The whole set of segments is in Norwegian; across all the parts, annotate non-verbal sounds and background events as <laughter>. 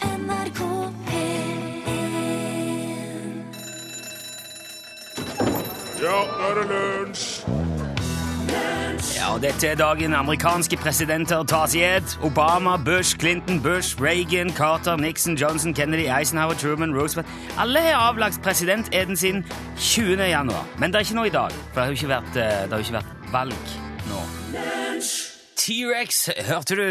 NRK P1 Ja, nå er det lunsj! Ja, dette er dagen amerikanske presidenter tas i ed. Obama, Bush, Clinton, Bush, Reagan, Carter, Nixon, Johnson, Kennedy, Eisenhower, Truman, Roosevelt. Alle har avlagt presidenteden sin 20. januar. Men det er ikke noe i dag, for det har jo ikke vært, eh, det har jo ikke vært valg nå. T-rex, hørte du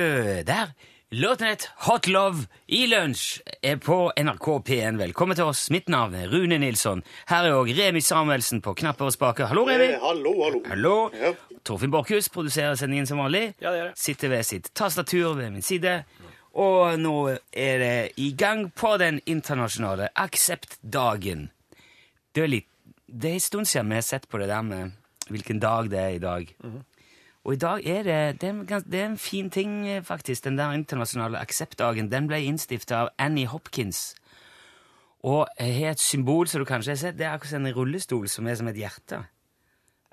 der? Låten het Hot Love i lunsj er på NRK P1. Velkommen til oss. Mitt navn er Rune Nilsson. Her er òg Remi Samuelsen på knapper og spaker. Hallo, Remi. hallo, hallo. Hallo. Ja. Torfinn Borchhus produserer sendingen som vanlig. Ja, det gjør jeg. Sitter ved sitt tastatur ved min side. Og nå er det i gang på den internasjonale akseptdagen. Det er litt Det er en stund siden vi har sett på det der med hvilken dag det er i dag. Mhm. Og i dag er det det er, en gans- det er en fin ting, eh, faktisk. Den der internasjonale akseptdagen den ble innstifta av Annie Hopkins. Og har et symbol som du kanskje har sett. Det er akkurat som en rullestol som er som et hjerte.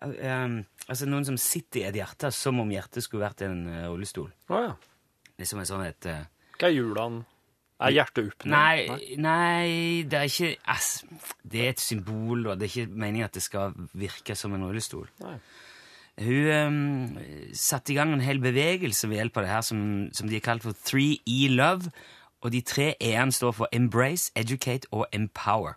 Um, altså noen som sitter i et hjerte, som om hjertet skulle vært en eh, rullestol. Å ja. Liksom en sånn et eh, Hva er julene? Er hjertet opp nå? nei, nei, det er ikke ass, Det er et symbol, og det er ikke meningen at det skal virke som en rullestol. Nei. Hun um, satte i gang en hel bevegelse ved hjelp av det her som, som de har kalt for 3E Love. Og de tre E-ene står for Embrace, Educate og Empower.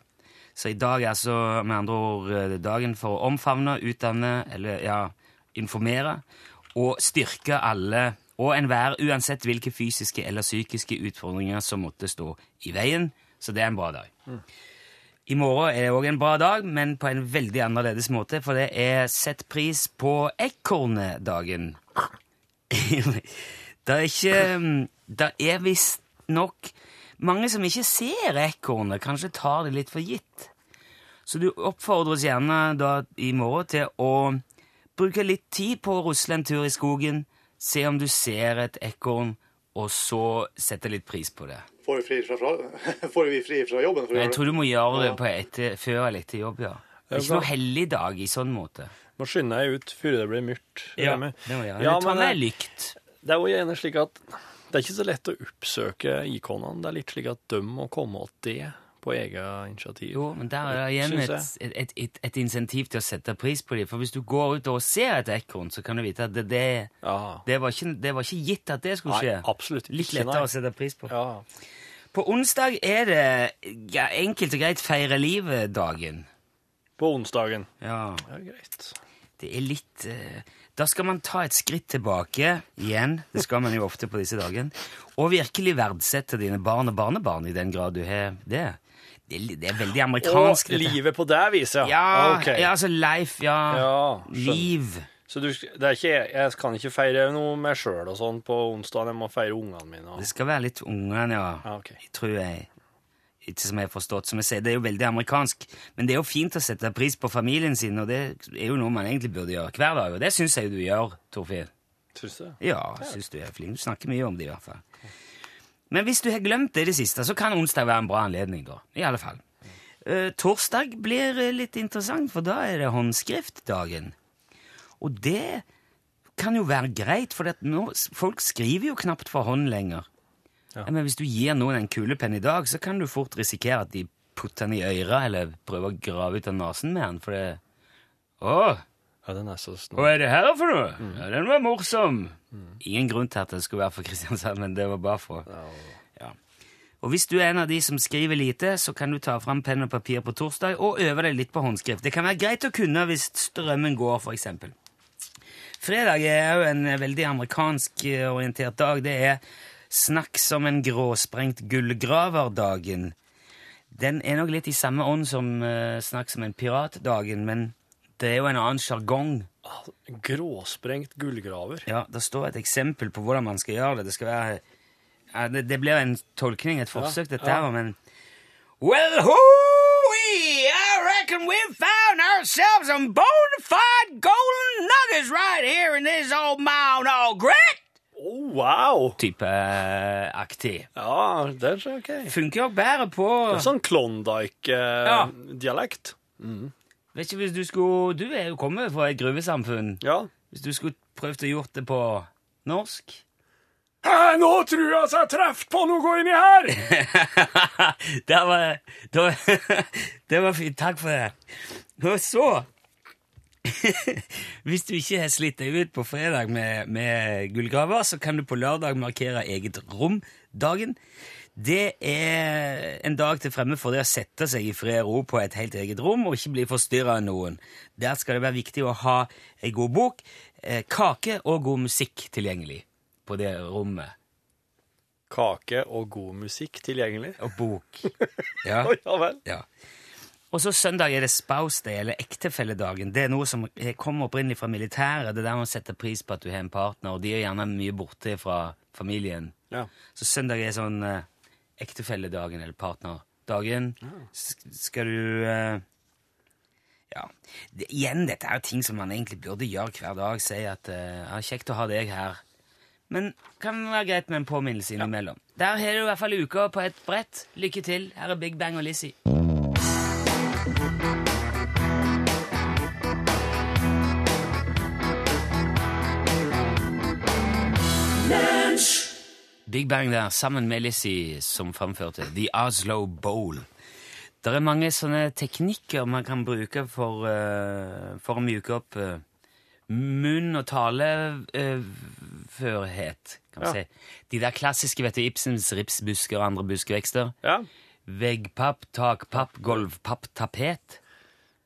Så i dag er altså med andre ord eh, dagen for å omfavne, utdanne eller ja, informere og styrke alle og enhver, uansett hvilke fysiske eller psykiske utfordringer som måtte stå i veien. Så det er en bra dag. I morgen er òg en bra dag, men på en veldig annerledes måte, for det er sett pris på ekornedagen. <laughs> det er ikke mm, Det er visstnok mange som ikke ser ekornet, kanskje tar det litt for gitt. Så du oppfordres gjerne da i morgen til å bruke litt tid på å rusle en tur i skogen, se om du ser et ekorn, og så sette litt pris på det. Får vi fri fra, fra, <laughs> får vi fri fra jobben? For å Jeg gjøre tror du må gjøre det Ja. på etter, før eller etter jobb, ja. Det er Ja, ikke noe bra. hellig dag i sånn måte. Må skynde deg ut før det blir mørkt. Ja, Remi. det må jeg gjøre. Ja, Ta men med det, lykt. det er jo gjerne slik at det er ikke så lett å oppsøke ikonene. Det er litt slik at de må komme åt det på eget initiativ. Jo, men der er det igjen Synes et, et, et, et, et insentiv til å sette pris på dem. For hvis du går ut og ser et ekorn, så kan du vite at det, det, Ja. det, var, ikke, det var ikke gitt at det skulle Nei, skje. absolutt ikke, Litt lettere nei. å sette pris på. ja. På onsdag er det ja, enkelt og greit feire livet-dagen. På onsdagen. Ja. Ja, greit. Det er litt eh, Da skal man ta et skritt tilbake igjen. Det skal man jo ofte på disse dagene. Og virkelig verdsette dine barn og barnebarn i den grad du har det. Det er, li- det er veldig amerikansk. Og dette. livet på det viset, Ja, Ok. ja, altså life, ja. Ja, skjønner. Liv. Så du, det er ikke, jeg kan ikke feire noe meg sjøl og sånn på onsdag. Jeg må feire ungene mine. Det Og, skal være litt ungene, ja. ja, ok. tror jeg. Ikke som jeg har forstått. Som jeg sier, det er jo veldig amerikansk. Men det er jo fint å sette pris på familien sin, og det er jo noe man egentlig burde gjøre hver dag. Og det syns jeg jo du gjør, Torfinn. Syns du? Ja, jeg syns du er flink. Du snakker mye om det, i hvert fall. Men hvis du har glemt det i det siste, så kan onsdag være en bra anledning, da. I alle fall. Eh, torsdag blir eh, litt interessant, for da er det håndskriftdagen. Og det kan jo være greit, for at nå, folk skriver jo knapt for hånd lenger. Ja. Men hvis du gir noen en kulepenn i dag, så kan du fort risikere at de putter den i øret, eller prøver å grave ut av nesen med den, for det Åh! Ja, den er så Hva snar. er det her for noe? Ja, den var morsom. Ingen grunn til at det skulle være for Kristiansand, men det var bare for ja. Og hvis du er en av de som skriver lite, så kan du ta fram penn og papir på torsdag og øve deg litt på håndskrift. Det kan være greit å kunne hvis strømmen går, for eksempel. Fredag er jo en veldig amerikansk eh, orientert dag. Det er snakk som en gråsprengt gullgraverdagen. Den er nok litt i samme ånd som eh, snakk som en piratdagen, men det er jo en annen sjargong. Ah, Gråsprengt gullgraver. Ja, det står et eksempel på hvordan man skal gjøre det. Det skal være ja, det, det blir en tolkning, et forsøk, dette ja. her, men Well, hoo I reckon we've found ourselves some bona fide golden nuggets right here in this old mound all grit! Oh, wow! eh, Typeaktig. Ja, det er så ok. Funker jo bedre på Sånn Ja. Klondyke-dialekt. Vet ikke hvis du skulle Du er jo kommet fra et gruvesamfunn. Ja. Hvis du skulle prøvd å gjort det på norsk «Hæ, Eh, Nå tror jeg at jeg treffer på noe inni her! <laughs> det var, det var, <laughs> det var fint. Takk for det. Og så <laughs> Hvis du ikke har slitt deg ut på fredag med, med gullgraver, så kan du på lørdag markere eget rom-dagen. Det er en dag til fremme for det å sette seg i fred og ro på et helt eget rom og ikke bli forstyrra av noen. Der skal det være viktig å ha ei god bok, eh, kake og god musikk tilgjengelig på det rommet. <laughs> Kake og god musikk tilgjengelig. Og bok. Ja. Å, ja vel. Ja. Og så søndag er det spouse day, eller ektefelledagen. Det er noe som kommer opprinnelig fra militæret. Det er der man setter pris på at du har en partner, og de er gjerne mye borte fra familien. Ja. Så søndag er sånn eh, ektefelledagen, eller partnerdagen. S skal du eh, Ja. Det, igjen, dette er jo ting som man egentlig burde gjøre hver dag. Si at eh, ja, 'kjekt å ha deg her', men kan være greit med en påminnelse innimellom. Der har du i hvert fall uka på et brett. Lykke til. Her er Big Bang og Lizzie. Big Bang der, sammen med Lizzie, som framførte The Oslo Bowl. Det er mange sånne teknikker man kan bruke for, eh, for å mjuke opp eh, munn- og taleførhet, kan man Ja. si. De der klassiske, vet du, Ibsens ripsbusker og andre buskevekster. ja. Veggpapp, takpapp, golvpapp, tapet.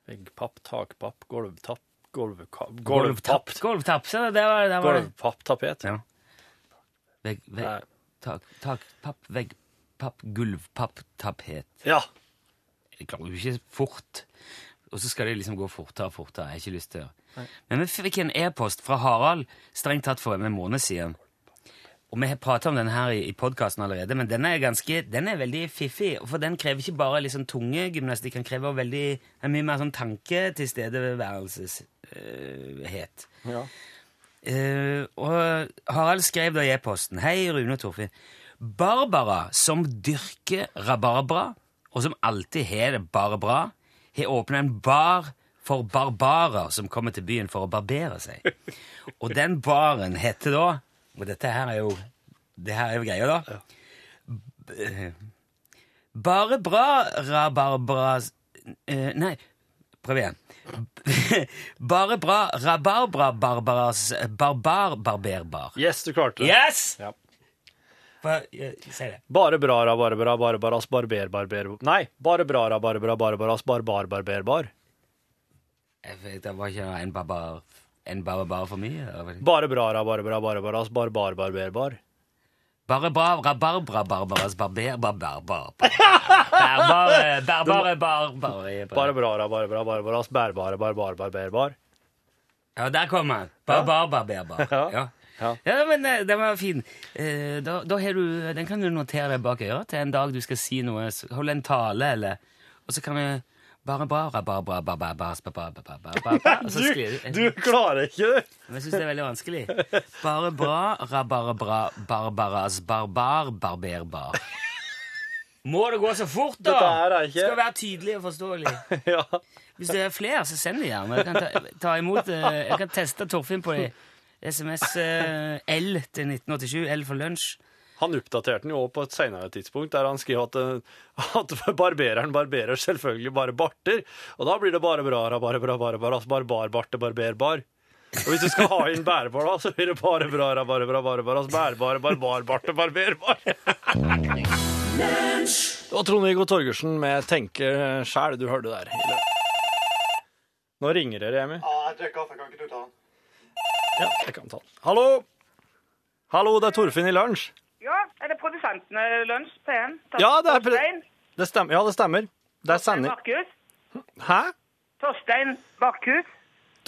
Veggpapp, takpapp, golvtapp, golvka... Golvtapp, Golvtapp. golvtapp, se, det var det. Var det. Golvpapptapet. Ja. Vegg, Nei. vegg, tak, takpapp, veggpapp, gulvpapp, tapet. Ja. Jeg klarer jo ikke fort. Og så skal det liksom gå fortere og fortere. Jeg har ikke lyst til det. Men vi fikk en e-post fra Harald strengt tatt for en måned siden. Og vi har prata om den her i, i podkasten allerede, men den er ganske, den er veldig fiffig. For den krever ikke bare liksom tungegymnastikk, den krever veldig, en mye mer sånn øh, tanketilstedeværelseshet. ja. Eh, og Harald skrev da i e-posten Hei, Rune og Torfinn. Barbara, som dyrker rabarbra, og som alltid har det bare bra, har åpna en bar for barbarer som kommer til byen for å barbere seg. Og den baren heter da Og dette her er jo, det her er jo greia, da. B- eh, Bare bra, rabarbra eh, Nei, prøv igjen. <laughs> Bare bra rabarbra-barbaras barbar-barberbar. Yes, du klarte det. Yes! Ja. Hva- eh, Si det. Bare brara, bare bra, bare baras, barber, barber... Nei, bare brara, bare bra, bare baras, barbar, barber, bar. Jeg vet, Det var ikke en barbar en barbar for mye? eller hva? Bare brara, bare bra, bare baras, barbar, barber, bar. Bare bra rabarbra-barbaras barber-barbar. Bærbare, bærbare, barbare Bare brara, bare bra, bare baras, bærbare, barbar, barber, bar. Ja, der kom han. Barbar-barberbar. Ja. Ja. Ja. Ja, men eh, den var fin. Eh, Da, da har du, den kan du notere deg bak øret til en dag du skal si noe. s- Holde en tale, eller Og så kan du bare bra, bra, bra, bra, bra, bra, bra, bra, bra, bra, bra, og så Du, sklir du. du klarer ikke det. Men jeg syns det er veldig vanskelig. Bare bra, rabarabra, barbaras, barbar, <laughs> barberbar. Må det gå så fort, da? Dette her er ikke- Skal være tydelig og forståelig. <laughs> Ja. Hvis det er flere, så send det gjerne. Jeg kan, ta, ta imot, eh, jeg kan teste Torfinn på det. SMS eh, L til 1987. L for lunsj. Han oppdaterte den jo også på et senere tidspunkt, der han skrev at, eh, at barbereren barberer selvfølgelig bare barter, og da blir det bare brara, bare bra, bare baras, barbar, barte, barberbar. Og hvis du skal ha inn bærbar, da, så blir det bare brara, bare bra, bare baras, bærbare, barbar, barte, barberbar. Og Trond-Viggo Torgersen med Tenke sjæl, du hørte der. Nå ringer det, Remi. jeg drikker kaffe, kan ikke du ta den? Ja, jeg kan ta den. Hallo! Hallo, det er Torfinn i lunsj. Ja, er det produsentene Lunsj, P1? Ja, det er pre- Torstein, Det stemmer. Ja, det stemmer. Det er Torstein sender. Barkhus. Hæ? Torstein Barkhus.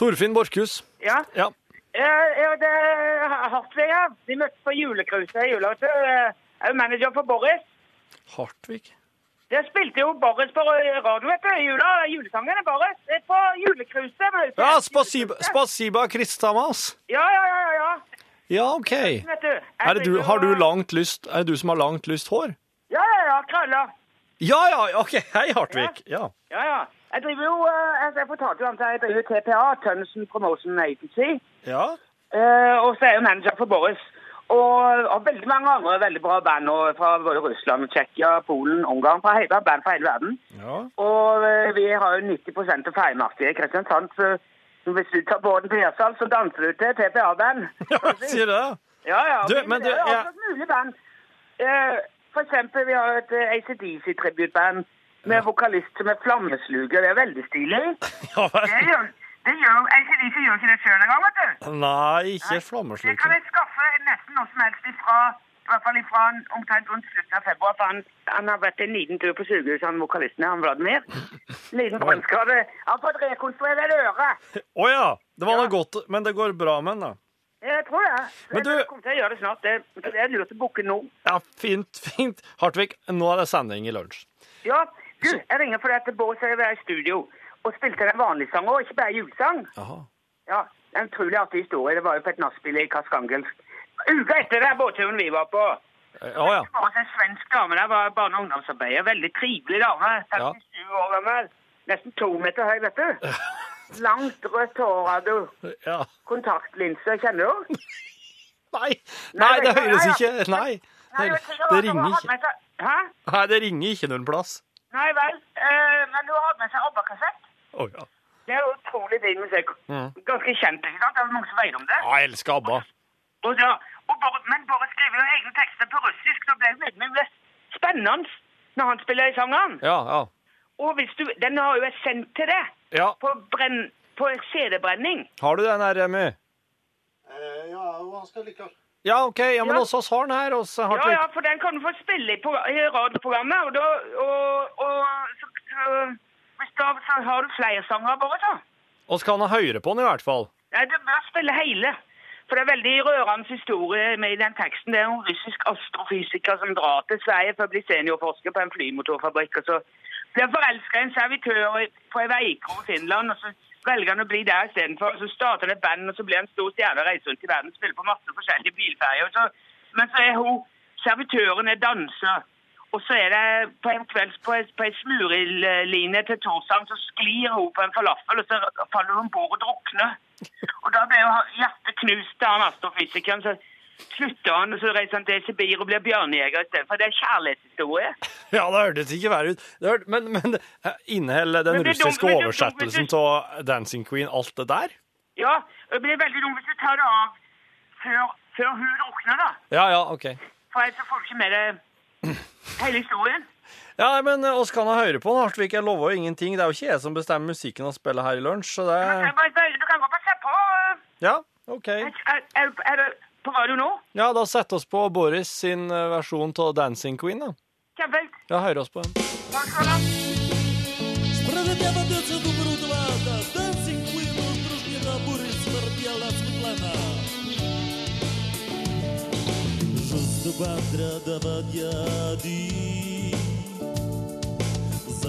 Torfinn Borchhus. Ja. Ja. Eh, ja, det er Hartvig her. Vi møttes på julekruset i jula. vet du. Eh, Jeg er jo manager for Boris. Hartvig. Det spilte jo Boris på radio vet du, i jula. Julesangen er Boris. Det er på julekruset. men det er jo ikke Ja, helt spasiba, julekruset. spasiba Kristamas. Ja, ja, ja, ja, ja. Ja, OK. Er Vet du. jeg det du, driver har du og- langt lyst Er det du som har langt lyst hår? Ja, ja, ja. Krøller. Ja, ja, OK. Hei, Hartvig. Ja. Ja, ja. Jeg driver jo eh, altså, Jeg fortalte jo om at jeg driver TPA, Tønnesen Promotion Agency. Ja. Eh, og så er jeg manager for Boris. Og, og veldig mange andre veldig bra band nå, fra både Russland, Tsjekkia, Polen, Ungarn. Fra hele, band fra hele verden. Ja. Og eh, vi har jo 90 av ferjemarkedet i Kristiansand. Så hvis du tar båten til Gjersdal, så danser du til TPA-band. <laughs> Sier du det? Ja, ja. Du, men, men du, det er jo jeg- alt slags mulig band. Eh, for eksempel, vi har et eh, ACDC-tributband med vokalist som er flammesluger. Det er veldig stilig. Ja Det vel. gjør, det gjør ACDC gjør ikke det sjøl engang, vet du. Nei, ikke Det kan flammesluker. jeg skaffe nesten noe som helst ifra. I hvert fall ifra han omtrent rundt slutten av februar. For han, han har vært en liten tur på sykehuset, han vokalisten han <laughs> Vladimir. Liten brannskade. Han har fått rekonstruert et øre. Å ja! Det var noe godt, men det går bra med den, da. Jeg tror det. Men du- Jeg kommer til å gjøre det snart. Det, det er lurt å booke nå. Ja, fint, fint. Hartvig, nå er det sending i lunsj. Ja, du, jeg ringer fordi at Bård sier vi er i studio og spilte en vanlig sang og ikke bare julesang. Jaha. Ja, en utrolig artig historie. Det var jo på et nachspiel i Kaskangelsk. Uka etter den båtturen vi var på, Å ja. det var altså en svensk dame der, var barne- og ungdomsarbeider. Veldig trivelig dame. 37 år gammel. Nesten to meter høy, vet <laughs> du. Langt rødt hår hadde hun. ja. Kontaktlinser, kjenner du? henne? Nei, nei, det høres ikke Nei. Nei, Det, var ti år, det så hun ringer hadde ikke. med seg- Hæ? Nei, det ringer ikke noen plass. Nei vel. Eh, men hun hadde med seg ABBA-kassett. Å ja. Det er jo utrolig fin musikk. Ganske kjent, ikke sant? Det er jo mange som vet om det. Mm. Ja, Jeg elsker ABBA. Og da, og Bård- men Bård skriver jo egne tekster på russisk, så ble det veldig mye spennende når han spiller i sangen. Ja, ja. Og hvis du, den har jo jeg sendt til deg ja. på, brenn- på CD-brenning. Har du den her, Remi? Eh, Ja, og han skal lykkes. Ja, OK. Ja, men Ja. også oss har den her, oss, Ja, Hartvig. ja, for den kan du få spille i, på, i radioprogrammet, og da, og, og så, så, hvis da, så har du flere sanger bare, så. Oss kan ha høyere på den, i hvert fall. Nei, du bør spille hele. For det er veldig rørende historie med i den teksten. Det er en russisk astrofysiker som drar til Sverige for å bli seniorforsker på en flymotorfabrikk. Og så blir han forelska i en servitør i- fra ei veikro i Finland, og så velger han å bli der istedenfor. Og så starter det et band, og så blir han stor stjerne og reiser rundt i verden og spiller på masse forskjellige bilferjer. Og så- Men så er hun servitøren er danser. Og så er det på en kveld på en, på en smuriline til Torshavn, så sklir hun på en falafel, og så faller hun om bord og drukner. Og da ble jo han- hjertet knust av han astrofysikeren, så slutter han, og så reiser han til Sibir og blir bjørnejeger i stedet for. Det er kjærlighetshistorie. <laughs> Ja, det hørtes ikke verre ut. Det hørte, men men eh, inneholder den Men det er dumt, russiske men det er dumt, oversettelsen men det- av Dancing Queen alt det der? Ja, og det blir veldig dumt hvis du tar det av før, før hun drukner, da. Ja, ja, OK. For ellers så får du ikke med deg hele historien. Ja, nei, men eh, oss kan ha høyere på den, Hartvig. Jeg lover jo ingenting. Det er jo ikke jeg som bestemmer musikken og spiller her i lunsj, så det Men det er bare- bare- Du kan godt bare se på. Ja, OK. Er, er, er det på radio nå? Ja, da setter oss på Boris sin eh, versjon av Dancing Queen, da. Kjempefint. Ja, hører oss på den. Takk skal du ha.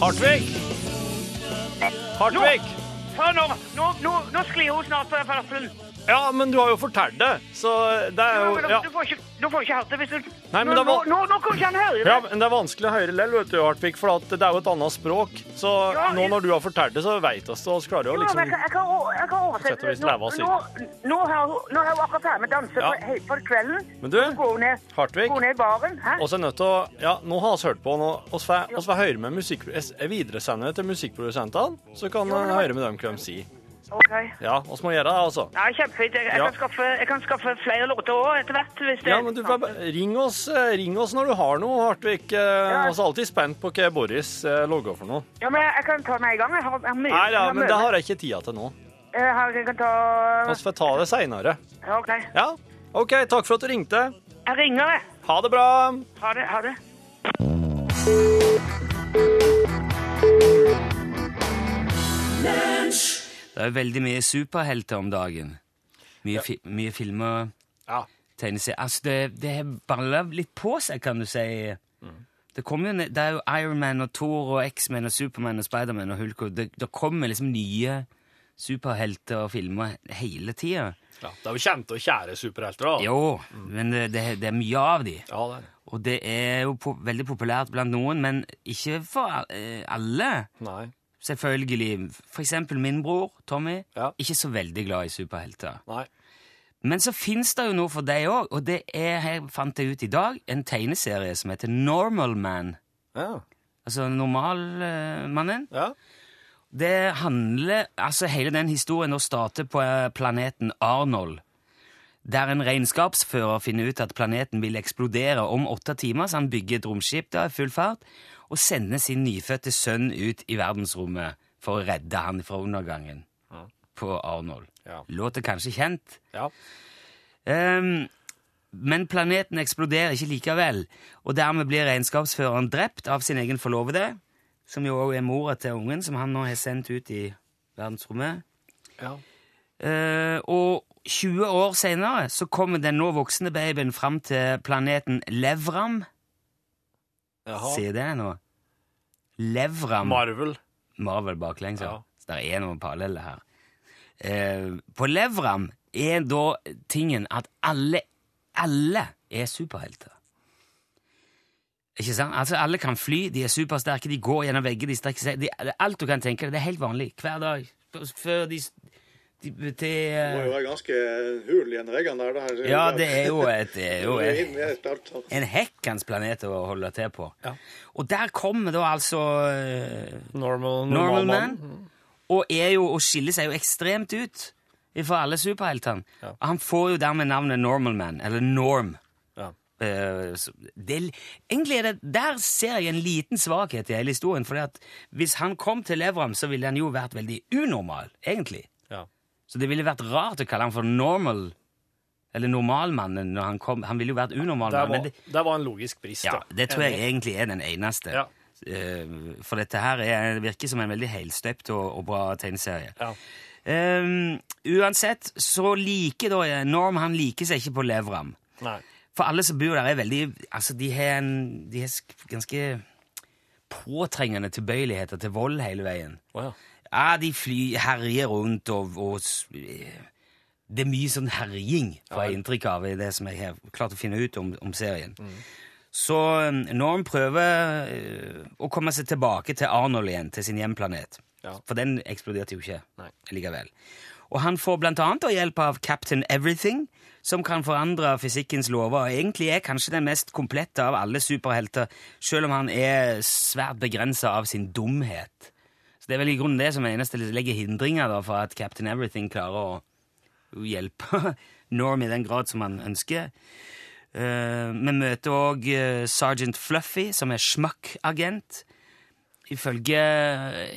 Hartvig! Hartvig! Så nå, nå, nå, nå sklir hun snart på den falafelen. Ja, men du har jo fortalt det, så det er Ja, jo men ja. da- Du får ikke, du får ikke hatt det hvis du Nei, men nå, det var- nå, nå, nå kan ikke han høre Ja, meg. men Det er vanskelig å høre lell, vet du, Artvik, for at det er jo et annet språk. Så Ja, nå jeg- når du har fortalt det, så veit vi det. og så klarer jo Ja, men liksom jeg, kan- jeg, kan, o- jeg kan Sett og vis oversette leve oss i. Nå, nå, nå, har, hun- nå har hun akkurat ferdig med å danse Ja. for, helt for kvelden. Men du, Gå ned, Hartvig, gå ned i baren. Hæ? oss er nødt til å Ja, nå har vi hørt på, nå- oss får oss får høre med musikk... Jeg videresender det til musikkprodusentene, så kan vi høre med dem hva de sier. Ok. Ja, oss må gjøre det, altså. Ja, kjempefint. Jeg, jeg, Ja. kan skaffe, jeg kan skaffe flere låter òg etter hvert. Hvis det Ja, men du, bare- ring oss, eh, ring oss når du har noe, Hartvig. Eh, Vi Ja. er alltid spent på hva Boris eh, logger for noe. Ja, men jeg, jeg kan ta meg i gang. Jeg har, jeg har mye. Nei, ja, jeg men mye. det har jeg ikke tida til nå. Jeg, har, jeg kan ta Vi får ta det seinere. Ja, OK. Ja, OK, takk for at du ringte. Jeg ringer, jeg. Ha det bra. Ha det. Ha det. Det er jo veldig mye superhelter om dagen. Mye, fi mye filmer, Ja. tegneserier Altså, det, det har balla litt på seg, kan du si. Det, kommer jo, ne- det er jo Iron Man og Thor og X-Man og Superman og Spiderman og Hulk og det, det kommer liksom nye superhelter og filmer hele tida. Ja, det er jo kjente og kjære superhelter, da. Jo, men det, det, det er mye av de. Ja, det er. det. Og det er jo po veldig populært blant noen, men ikke for eh, alle. Nei. Selvfølgelig. For eksempel min bror, Tommy, Ja. ikke så veldig glad i superhelter. Nei. Men så fins det jo noe for deg òg, og det er, her fant jeg ut i dag, en tegneserie som heter Normal Man. Ja. Altså eh, normalmannen. ja. Det handler Altså, hele den historien nå starter på eh, planeten Arnold. Der en regnskapsfører finner ut at planeten vil eksplodere om åtte timer, så han bygger et romskip da, i full fart, og sender sin nyfødte sønn ut i verdensrommet for å redde han fra undergangen på Arnold. Ja. Låter kanskje kjent? ja. Ehm, men planeten eksploderer ikke likevel, og dermed blir regnskapsføreren drept av sin egen forlovede, som jo også er mora til ungen, som han nå har sendt ut i verdensrommet. Ja. Eh, og 20 år senere så kommer den nå voksne babyen fram til planeten Levram. Jaha. Se det nå. Levram. Marvel. Marvel baklengs, ja. Ja. Så det er noen paralleller her. Eh, på Levram er da tingen at alle, alle er superhelter. Ikke sant? Altså, alle kan fly, de er supersterke, de går gjennom vegger, de strekker seg. De, det er alt du kan tenke deg, det er helt vanlig. Hver dag. F- Før de, s- de, til, Det må jo eh, være ganske hul gjennom veggene der. Det her. Ja, det er jo <laughs> et, det er jo Det er et inn i et alt sånt. en hekkans planet å holde til på. Ja. Og der kommer da altså eh, Normal, Normal Mann. Man. Og, er jo, og skiller seg jo ekstremt ut fra alle superheltene. Og Han får jo dermed navnet Normal Man, eller Norm. Ja. Eh, så Det, er- egentlig er det, Der ser jeg en liten svakhet i hele historien. For hvis han kom til Levram, så ville han jo vært veldig unormal, egentlig. Ja. Så det ville vært rart å kalle han for Normal, eller Normalmannen, når han kom. Han ville jo vært unormal. Der, mann, men var, det, der var en logisk brist. ja, da. det tror jeg egentlig er den eneste. Ja. Eh, For dette her er, virker som en veldig helstøpt og, og bra tegneserie. Ja. Eh, uansett så liker da eh, Norm han liker seg ikke på Levram. Nei. For alle som bor der, er veldig Altså, de har en de har sk- ganske påtrengende tilbøyeligheter til vold hele veien. Å, ja. Ja, de fly, herjer rundt og, og s- eh, Det er mye sånn herjing, får jeg inntrykk av, i det som jeg har klart å finne ut om, om serien. Mm. Så um, Norm prøver eh, å komme seg tilbake til Arnold igjen, til sin hjemplanet. Ja. For den eksploderte jo ikke Nei. likevel. Og han får blant annet da hjelp av Captain Everything, som kan forandre fysikkens lover, og egentlig er kanskje den mest komplette av alle superhelter, selv om han er svært begrenset av sin dumhet. Så det er vel i grunnen det som er eneste liksom, legger hindringer da, for at Captain Everything klarer å hjelpe <laughs> Norm i den grad som han ønsker. Eh, vi møter òg Sergeant Fluffy, som er schmuck-agent. Ifølge,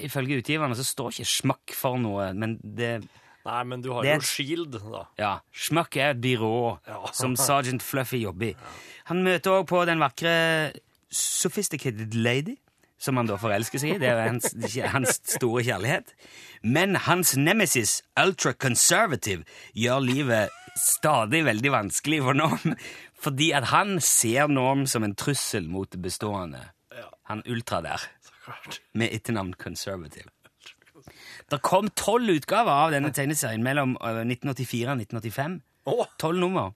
ifølge utgiverne så står ikke schmuck for noe, men det Nei, men du har Det er- jo Shield, da. ja, Schmuck er et byrå Ja. som Sergeant Fluffy jobber i. Han møter også på den vakre Sophisticated Lady, som han da forelsker seg i. Det er jo hans, <laughs> hans store kjærlighet. Men hans nemesis, Ultra Conservative, gjør livet stadig veldig vanskelig for Norm, fordi at han ser Norm som en trussel mot det bestående. Han ultra der Så klart. med etternavn Conservative. Det kom tolv utgaver av denne tegneserien mellom eh, 1984 og 1985. Å, Tolv nummer.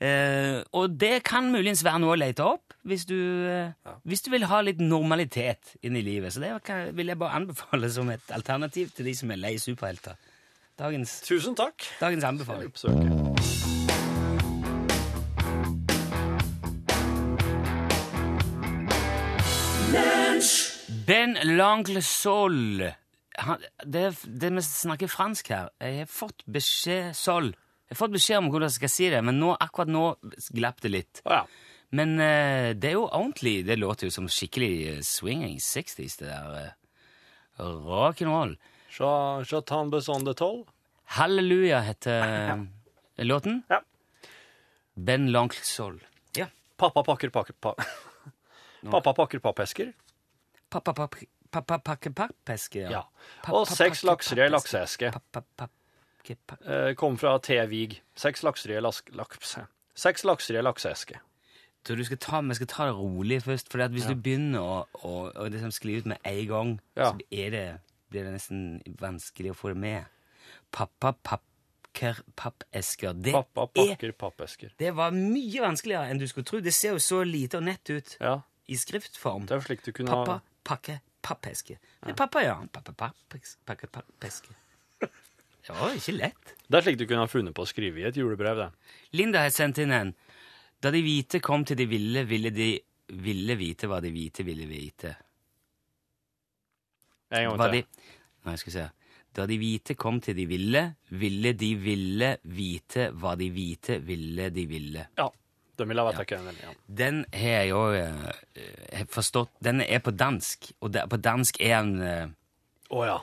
Eh, og det kan muligens være noe å lete opp hvis du, eh, hvis du vil ha litt normalitet inn i livet. Så det kan, vil jeg bare anbefale som et alternativ til de som er lei superhelter. Dagens, tusen takk. dagens anbefaling. Oppsøker. Ben Langle Sol han, det, det vi snakker fransk her Jeg har fått beskjed Sol Jeg har fått beskjed om hvordan jeg skal si det Men nå, akkurat nå glapp det litt Å, ja. Men eh, det er jo ordentlig Det låter jo som skikkelig eh, swinging 60s Det der eh, rock'n'roll Ja. Jatan Besson de Toll. Halleluja <laughs> heter eh, låten Ja. Ben Langle Sol Ja Pappa pakker pakker pa Pappa pakker pappesker. Pappa pakke pappa, pakke pappeske Ja. Pappa Og seks pakke lakser i ei pappeske. lakseeske. Pappa pakke pa- Eh, Kom fra T. Vig. Seks lakser i ei lask- laks- Seks lakser i ei lakseeske. Så du skal ta, vi skal ta det rolig først, for hvis du begynner å, å, å liksom skli ut med en gang, Ja. så er det, blir det nesten vanskelig å få det med. Pappa pakker pappesker. Det, Pappa er, pakker pappesker. det var mye vanskeligere enn du skulle tro. Det ser jo så lite og nett ut Ja. i skriftform. Det er jo slik du kunne Pappa ha pakker pappesker. Men pappa, ja. Pappa pappes- pakker pappesker. Det var ikke lett. Det er slik du kunne ha funnet på å skrive i et julebrev, det. Linda har sendt inn en. Da de hvite kom til de ville, ville de ville vite hva de hvite ville vite. En gang Hva de, til. nei, skal vi se. Da de hvite kom til de ville, ville de ville vite hva de hvite ville de ville. Ja. De ville ha vært ikke den. Ja. Den har jeg jo eh, eh, forstått. Den er på dansk, og der, på dansk er han, eh, Å ja.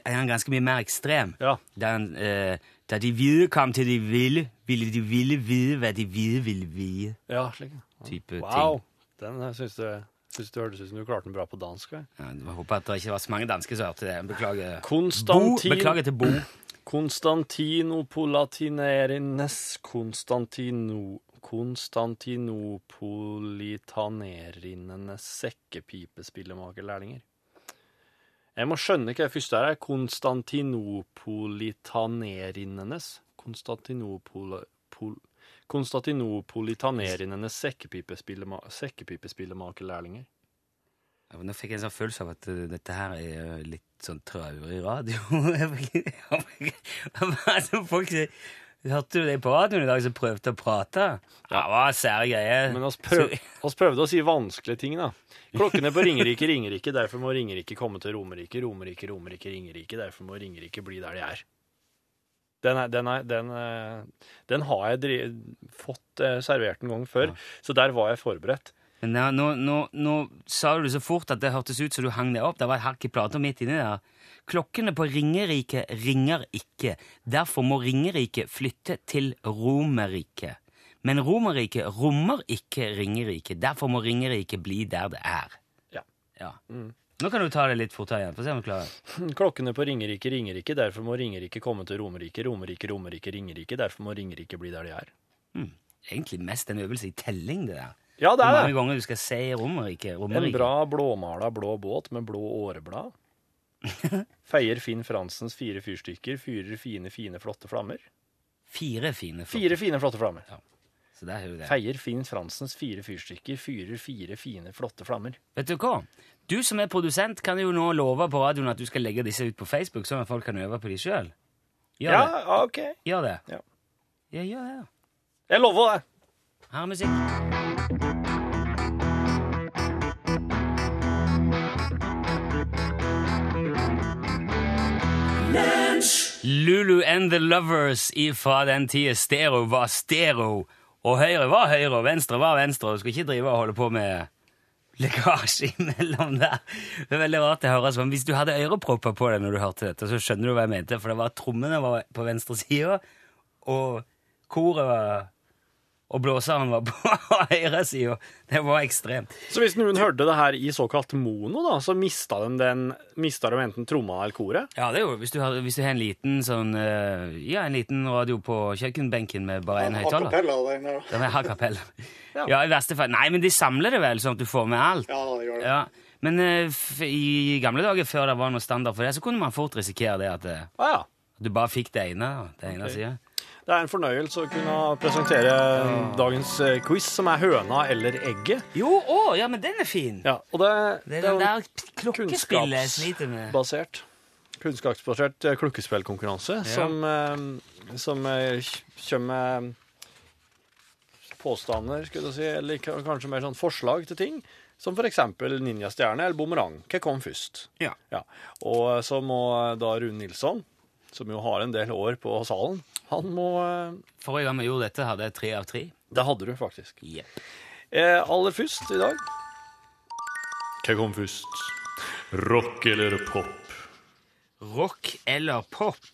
er han ganske mye mer ekstrem. Ja. Da, han, eh, da de hvite kom til de ville, ville de ville vite hva de hvite ville vite. ja slik. ja. Type ting. Wow. Den eh, syns du, syns du hørtes ut som du klarte den bra på dansk. vel? Ja, Jeg håper at det ikke var så mange dansker som hørte det. Beklager. Konstantin- Bo, beklager til Bo. Konstantinopolitanerines Konstantino, Konstantinopolitanerinenes sekkepipespillemakerlærlinger. Jeg må skjønne hva det første her er. Konstantinopolitanerinenes Konstantinopol... Pol, Konstantinopolitanerinenes sekkepipespillema, sekkepipespillemakerlærlinger. Ja, men Nå fikk jeg en sånn følelse av at eh, dette her er eh, litt sånn traurig radio. <laughs> Jeg fikk- jeg fikk- Hva var det som folk sier? Hørte du det på radioen i dag som prøvde å prate? Ja, det var sære greier. Men <laughs> oss, prøv, Så- oss prøvde å si vanskelige ting, <laughs> da. Klokkene på Ringerike ringer ikke, derfor må Ringerike komme til Romerike. Romerike, Romerike, Ringerike, derfor må Ringerike bli der de er. Den, er, den, er, den, eh, den har jeg dri fått eh, servert en gang før, så der var jeg forberedt. <clears throat> Men ja, nå, nå, nå sa du det så fort at det hørtes ut som du hang deg opp. Det var et hakk i plata midt inni der. Klokkene på Ringerike ringer ikke. Derfor må Ringerike flytte til Romerike. Men Romerike rommer ikke Ringerike. Derfor må Ringerike bli der det er. Ja. Mm. Ja. Nå kan du ta det litt fortere igjen. Få se om du klarer det. Klokkene på Ringerike ringer ikke, derfor må Ringerike komme til Romerike. Romerike, Romerike, Ringerike, derfor må Ringerike bli der de er. Egentlig mest en øvelse i telling, det der. Ja, det Hvor er mange det! ganger du skal si Romerike. En Romerike. bra blåmala blå båt med blå <laughs> åreblad. Feier Finn Fransens fire fyrstykker, fyrer fine, fine, flotte flammer. Fire fine folk. Fire fine, flotte flammer. Så der har du det. Feier Finn Fransens fire fyrstykker, fyrer fire, fine, flotte flammer. Vet du hva? Du som er produsent, kan jo nå love på radioen at du skal legge disse ut på Facebook, sånn at folk kan øve på de sjøl. Gjør det. Ja, OK. Gjør det. Ja. Ja, gjør det. Jeg lover det. Her er musikk. Lulu and the Lovers ifra den tida stereo var stereo, og høyre var høyre, og venstre var venstre, og du skal ikke drive og holde på med lekkasje <laughs> imellom der. Det er veldig rart det høres sånn. Hvis du hadde ørepropper på deg når du hørte dette, så skjønner du hva jeg mente, for det var trommene var på venstre side, og koret var og blåseren var <laughs> på høyresida. Det var ekstremt. Så hvis noen hørte det her i såkalt mono, da, så mista de, den, mista de enten tromma eller koret. Ja, det er jo hvis du har, hvis du har en liten sånn eh, Ja, en liten radio på kjøkkenbenken med bare én høyttaler. Akapella der inne. da. Ja, med a cappella. <laughs> Ja. Ja, i verste fall. Nei, men de samler det vel, sånn at du får med alt. Ja, det gjør det. Ja. Men eh, f i gamle dager, før det var noe standard for det, så kunne man fort risikere det at, eh, Ah, ja. at du bare fikk det ene. Det ene Ok. siden. Det er en fornøyelse å kunne presentere dagens eh, quiz, som er høna eller egget. Jo, å, ja, men den er fin! Ja, og det, Det er det er den jo der klokkespillet jeg sliter med. kunnskapsbasert Kunnskapsbasert eh, klukkespillkonkurranse som, eh, som eh, kj- kommer med påstander, skulle du si, eller k- kanskje mer sånn forslag til ting. Som for eksempel ninjastjerne eller bumerang. Hva kom først? Ja. Ja. Og eh, så må eh, da Rune Nilsson, som jo har en del år på salen, han må eh, Forrige gang vi gjorde dette, hadde jeg tre av tre. Det hadde du faktisk. Yep. Eh, aller først i dag Hva kom først? Rock eller pop? Rock eller pop?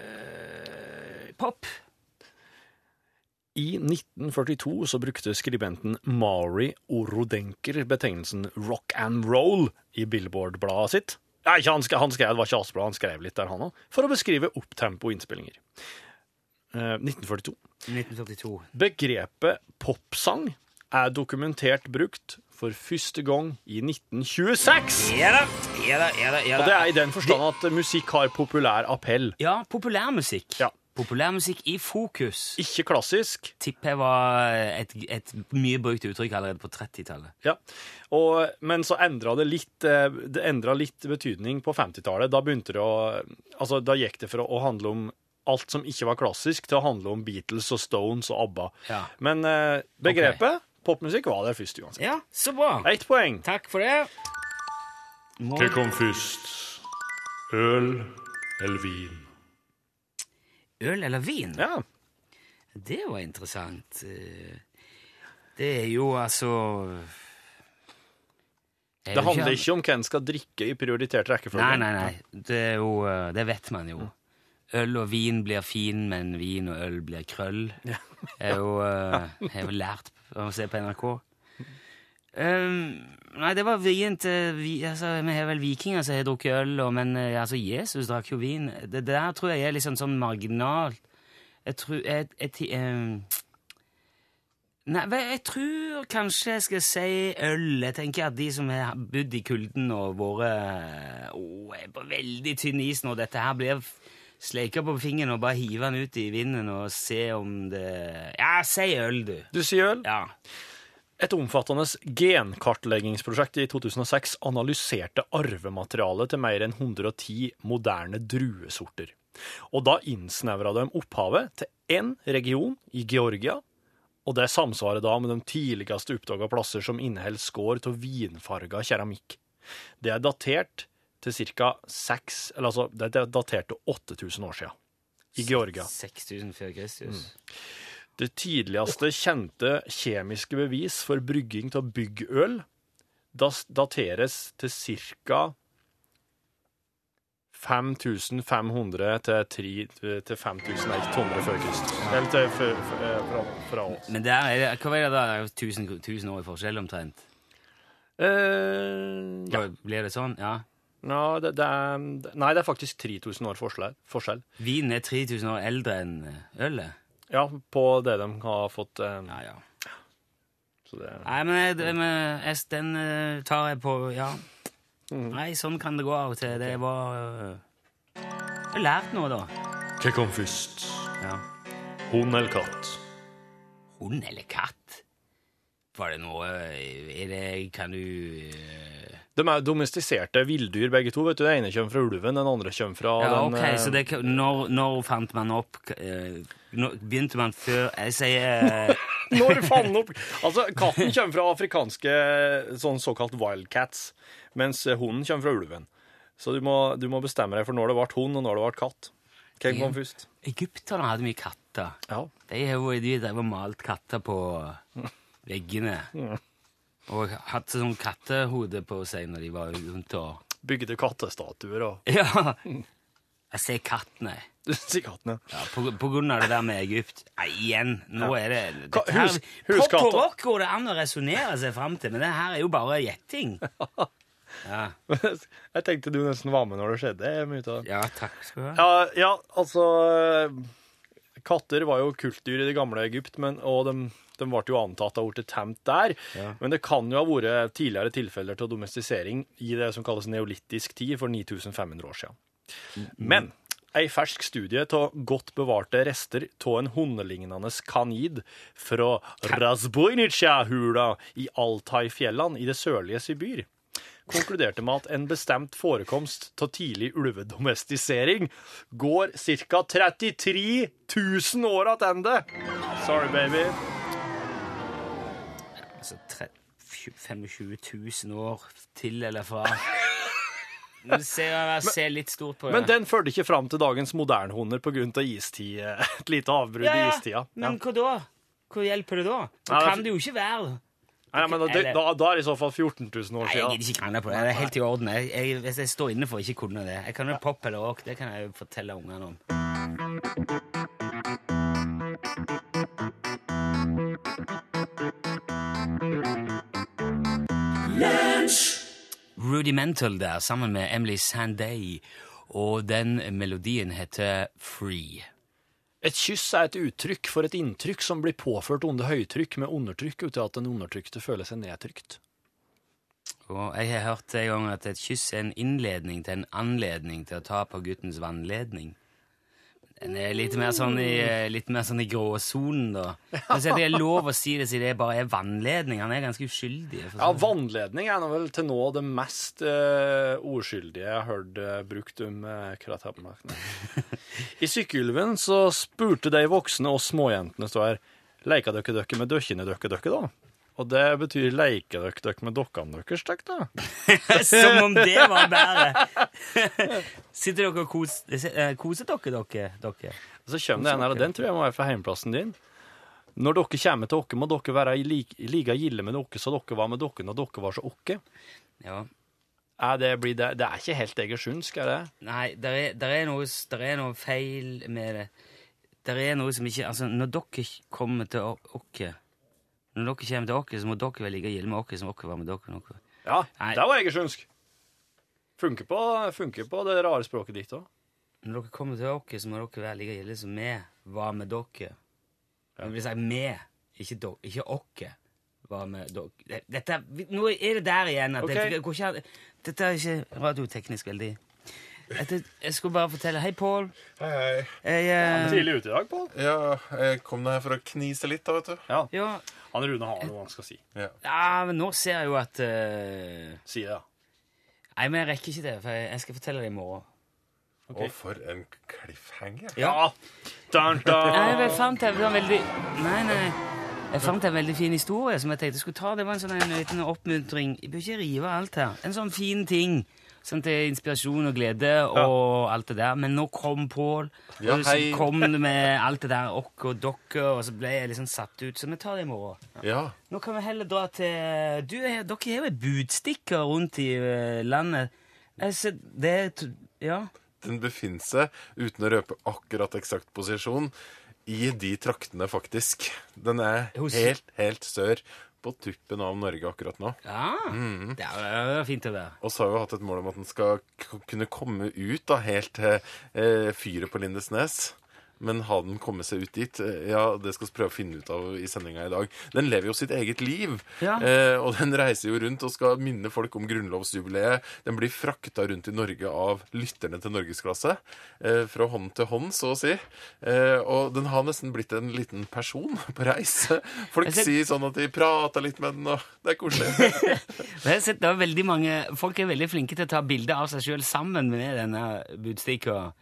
Eh, pop. I 1942 så brukte skribenten Mari Orodenker betegnelsen rock and roll i Billboard-bladet sitt. Nei, ikke han, sk- han skrev, det var ikke Asbjørn, han skrev litt der han òg, for å beskrive opptempo-innspillinger. Eh, 1942. 1942. Begrepet popsang er dokumentert brukt for første gang i 1926! Ja da, ja da, ja da. Ja, Og da. det er i den forstand at musikk har populær appell. ja populærmusikk. Ja. Populærmusikk i fokus. Ikke klassisk. Tipper jeg var et, et mye brukt uttrykk allerede på 30-tallet. Ja. Og, men så endra det litt eh, Det endra litt betydning på 50-tallet. Da begynte det å Altså, da gikk det fra å handle om alt som ikke var klassisk, til å handle om Beatles og Stones og ABBA. Ja. Men eh, begrepet popmusikk var der først uansett. Ja, så bra. Ett poeng. Takk for det. Må... kom først? Øl eller vin? Øl eller vin? Ja. Det var interessant. Eh, Det er jo altså er Det jo handler ikke om hvem skal drikke i prioritert rekkefølge. Nei, nei, nei. Det, er jo, eh, det vet man jo. Øl og vin blir fin, men vin og øl blir krøll. Det er jo, eh, jeg har jo lært av å se på NRK. Um, nei, det var vrient. eh, vi- Altså, vi har vel vikinger som har drukket øl, og, men eh, altså, Jesus drakk jo vin. Det der tror jeg er liksom sånn marginalt. Jeg tror jeg, jeg, ti- em, Nei, vel, jeg tror kanskje jeg skal si øl. Jeg tenker at de som har bodd i kulden og vært oh, er på veldig tynn is når dette her blir sleika på fingeren og bare hive den ut i vinden og se om det Ja, si øl, du. Du sier øl? Ja. Et omfattende genkartleggingsprosjekt i 2006 analyserte arvematerialet til mer enn 110 moderne druesorter. Og da innsnevra de opphavet til én region i Georgia, og det samsvarer da med de tidligste oppdaga plasser som inneholder skår av vinfarga keramikk. Det er datert til ca. 6 Eller altså, det er datert til 8000 år siden. I Georgia. 6000 før Kristus. Det tidligste kjente kjemiske bevis for brygging av byggøl das- dateres til ca. 5500 til tre- til 5100 før Kristus. Eller til før- før- eh, fra, fra oss. Men der er det, hva er det da? Det er jo 1000, 1000 år i forskjell, omtrent? Eh, ja. Blir det sånn? Ja. Nå, det, det er, nei, det er faktisk 3000 år forskjell. forskjell. Vinen er 3000 år eldre enn eh, ølet? Ja, på det de har fått. eh, Ja, ja. Så det, Nei, men, jeg, det- men jeg, den eh, tar jeg på Ja. Nei, sånn kan det gå av og til. Det var eh, Jeg har lært noe, da. Hva kom først? Ja. Hund eller katt? Hund eller katt? Var det noe eh, Er det Kan du eh, De er domestiserte villdyr, begge to. vet du. Den ene kommer fra ulven, den andre kommer fra Ja, den ok, eh, så det, kan- når, når fant man opp eh, nå- Begynte man før Jeg sier eh, <laughs> Når faen opp Altså, katten kommer fra afrikanske sånn såkalt wildcats, mens hunden kommer fra ulven. Så du må, du må bestemme deg for når det ble hund, og når det ble katt. Hvem kom først? Egypterne hadde mye katter. Ja. De har jo de drev og malt katter på veggene. Og hatt sånn kattehode på seg når de var rundt <laughs> og Bygde kattestatuer og <laughs> Ja! <laughs> Jeg ser katt, nei. Si katten, ja. Ja, på, på grunn av det der med Egypt. Nei, igjen! Nå er det Ka- dette her- hus- huskatter. Pop og rock går det an å resonnere seg fram til, men det her er jo bare gjetting. <laughs> Ja. Jeg tenkte du nesten var med når det skjedde. jeg er mye ut av det. ja, takk skal du ha. Ja, ja, altså eh, Katter var jo kultdyr i det gamle Egypt, men, og de, De ble jo antatt av ordet tamt der, men det kan jo ha vært tidligere tilfeller til domestisering i det som kalles neolittisk tid for 9500 år siden. Men ei fersk studie av godt bevarte rester av en hundelignende kanid fra Razbojnica-hula i Altai-fjellene i det sørlige Sibir konkluderte med at en bestemt forekomst av tidlig ulvedomestisering går ca. 33 000 år tilbake. Sorry, baby. Altså tre- fju- 25 000 år til eller <laughs> fra. Nå ser jeg jeg ser litt stort på det. Men den førte ikke fram til dagens modernhunder pga. istid. Et lite avbrudd ja, i ja. istida. Ja. Men hva da? Hva hjelper det da? Da Nei, det kan er for- det jo ikke være Nei, men da, Eller- da, da er det i så fall 14 000 Nei, år Jeg siden. gidder ikke krangle på det. Det er helt i orden. Jeg, jeg, hvis jeg står inne for å ikke kunne det. Jeg kan jo pop eller rock. Det kan jeg jo fortelle ungene om. Rudimental der, sammen med Emily Sanday. Og den melodien heter Free. Et kyss er et uttrykk for et inntrykk som blir påført under høytrykk med undertrykk uten at den undertrykte føler seg nedtrykt. Og jeg har hørt en gang at et kyss er en innledning til en anledning til å ta på guttens vannledning. Den er litt mer sånn i, eh, litt mer sånn i gråsonen, da. Altså, det er lov å si det siden det bare er vannledning. Han er ganske uskyldig. for Ja, sånn. vannledning er nå vel til nå det mest eh, ordskyldige jeg har hørt eh, brukt om eh, kratappmarkene. I Sykkylven så spurte de voksne og småjentene stå her, leika dere dere med døkkene dere dere da? Og det betyr leika dere dere med dokkene deres, takk da. Som om det var bedre! <laughs> Sitter dere og kos, eh, koser dere, dere? dere? Og så kommer det en her, og den tror jeg må være fra heimplassen din. Når dere kommer til dere, må dere være i like, like gilde med dere, så dere var med dere når dere var så åkke. Ja. Ja, det, blir, det, det er ikke helt egersundsk, er det? Nei, der er, der, er noe, s- der er noe feil med det. Der er noe som ikke Altså, når dere kommer til å- okke Når dere kommer til okke, så må dere vel ligge gilde med okke som okke var med dere. Noe. Ja, Nei. det var egersundsk. Funker på, funker på det rare språket ditt òg. Når dere kommer til okke, så må dere være like gilde som vi var med dere. Men hvis jeg med, ikke, do, ikke okke, var med dere Dette, Nå er det der igjen at Ok. jeg, jeg går ikke, an- Dette er ikke radioteknisk veldig Dette, Jeg skulle bare fortelle Hei, Pål. Hei, hei. Jeg, eh, Tidlig ute i dag, Pål. Ja, jeg kom ned her for å knise litt, da, vet du. ja, Han Rune har noe han skal si. Ja, men nå ser jeg jo at eh, Si det, da. Nei, men jeg rekker ikke det, for jeg, jeg skal fortelle det i morgen. Å, for en cliffhanger. Ja. Dun, dun. Nei, men jeg fant en en veldig Nei, nei. Jeg fant en veldig fin historie som jeg tenkte jeg skulle ta. Det var en sånn en liten oppmuntring. Jeg bør ikke rive alt her. En sånn fin ting. Sånn til inspirasjon og glede og alt det der. Men nå kom Pål, og Ja, så hei. kom det med alt det der okk og dokke, og så ble jeg liksom satt ut. Så vi tar det i morgen. Ja. Nå kan vi heller dra til du, er- Dere har jo budstikker rundt i eh, landet. Jeg ser, det er t- Ja. Den befinner seg, uten å røpe akkurat eksakt posisjon, i de traktene, faktisk. Den er Hos- helt, helt sør på tuppen av Norge akkurat nå. ja. Det er jo fint å være. Og så har vi jo hatt et mål om at den skal k kunne komme ut da, helt til eh, fyret på Lindesnes. Men har den kommet seg ut dit? Eh, Ja, det skal vi prøve å finne ut av i sendinga i dag. Den lever jo sitt eget liv. Ja. Eh, og den reiser jo rundt og skal minne folk om grunnlovsjubileet. Den blir frakta rundt i Norge av lytterne til Norgesklasse. Eh, fra hånd til hånd, så å si. Eh, og den har nesten blitt en liten person på reis. Folk Jeg ser- sier sånn at de prata litt med den, og det er koselig. Men Jeg har sett det er veldig mange, Folk er veldig flinke til å ta bilder av seg sjøl sammen med denne budstikka.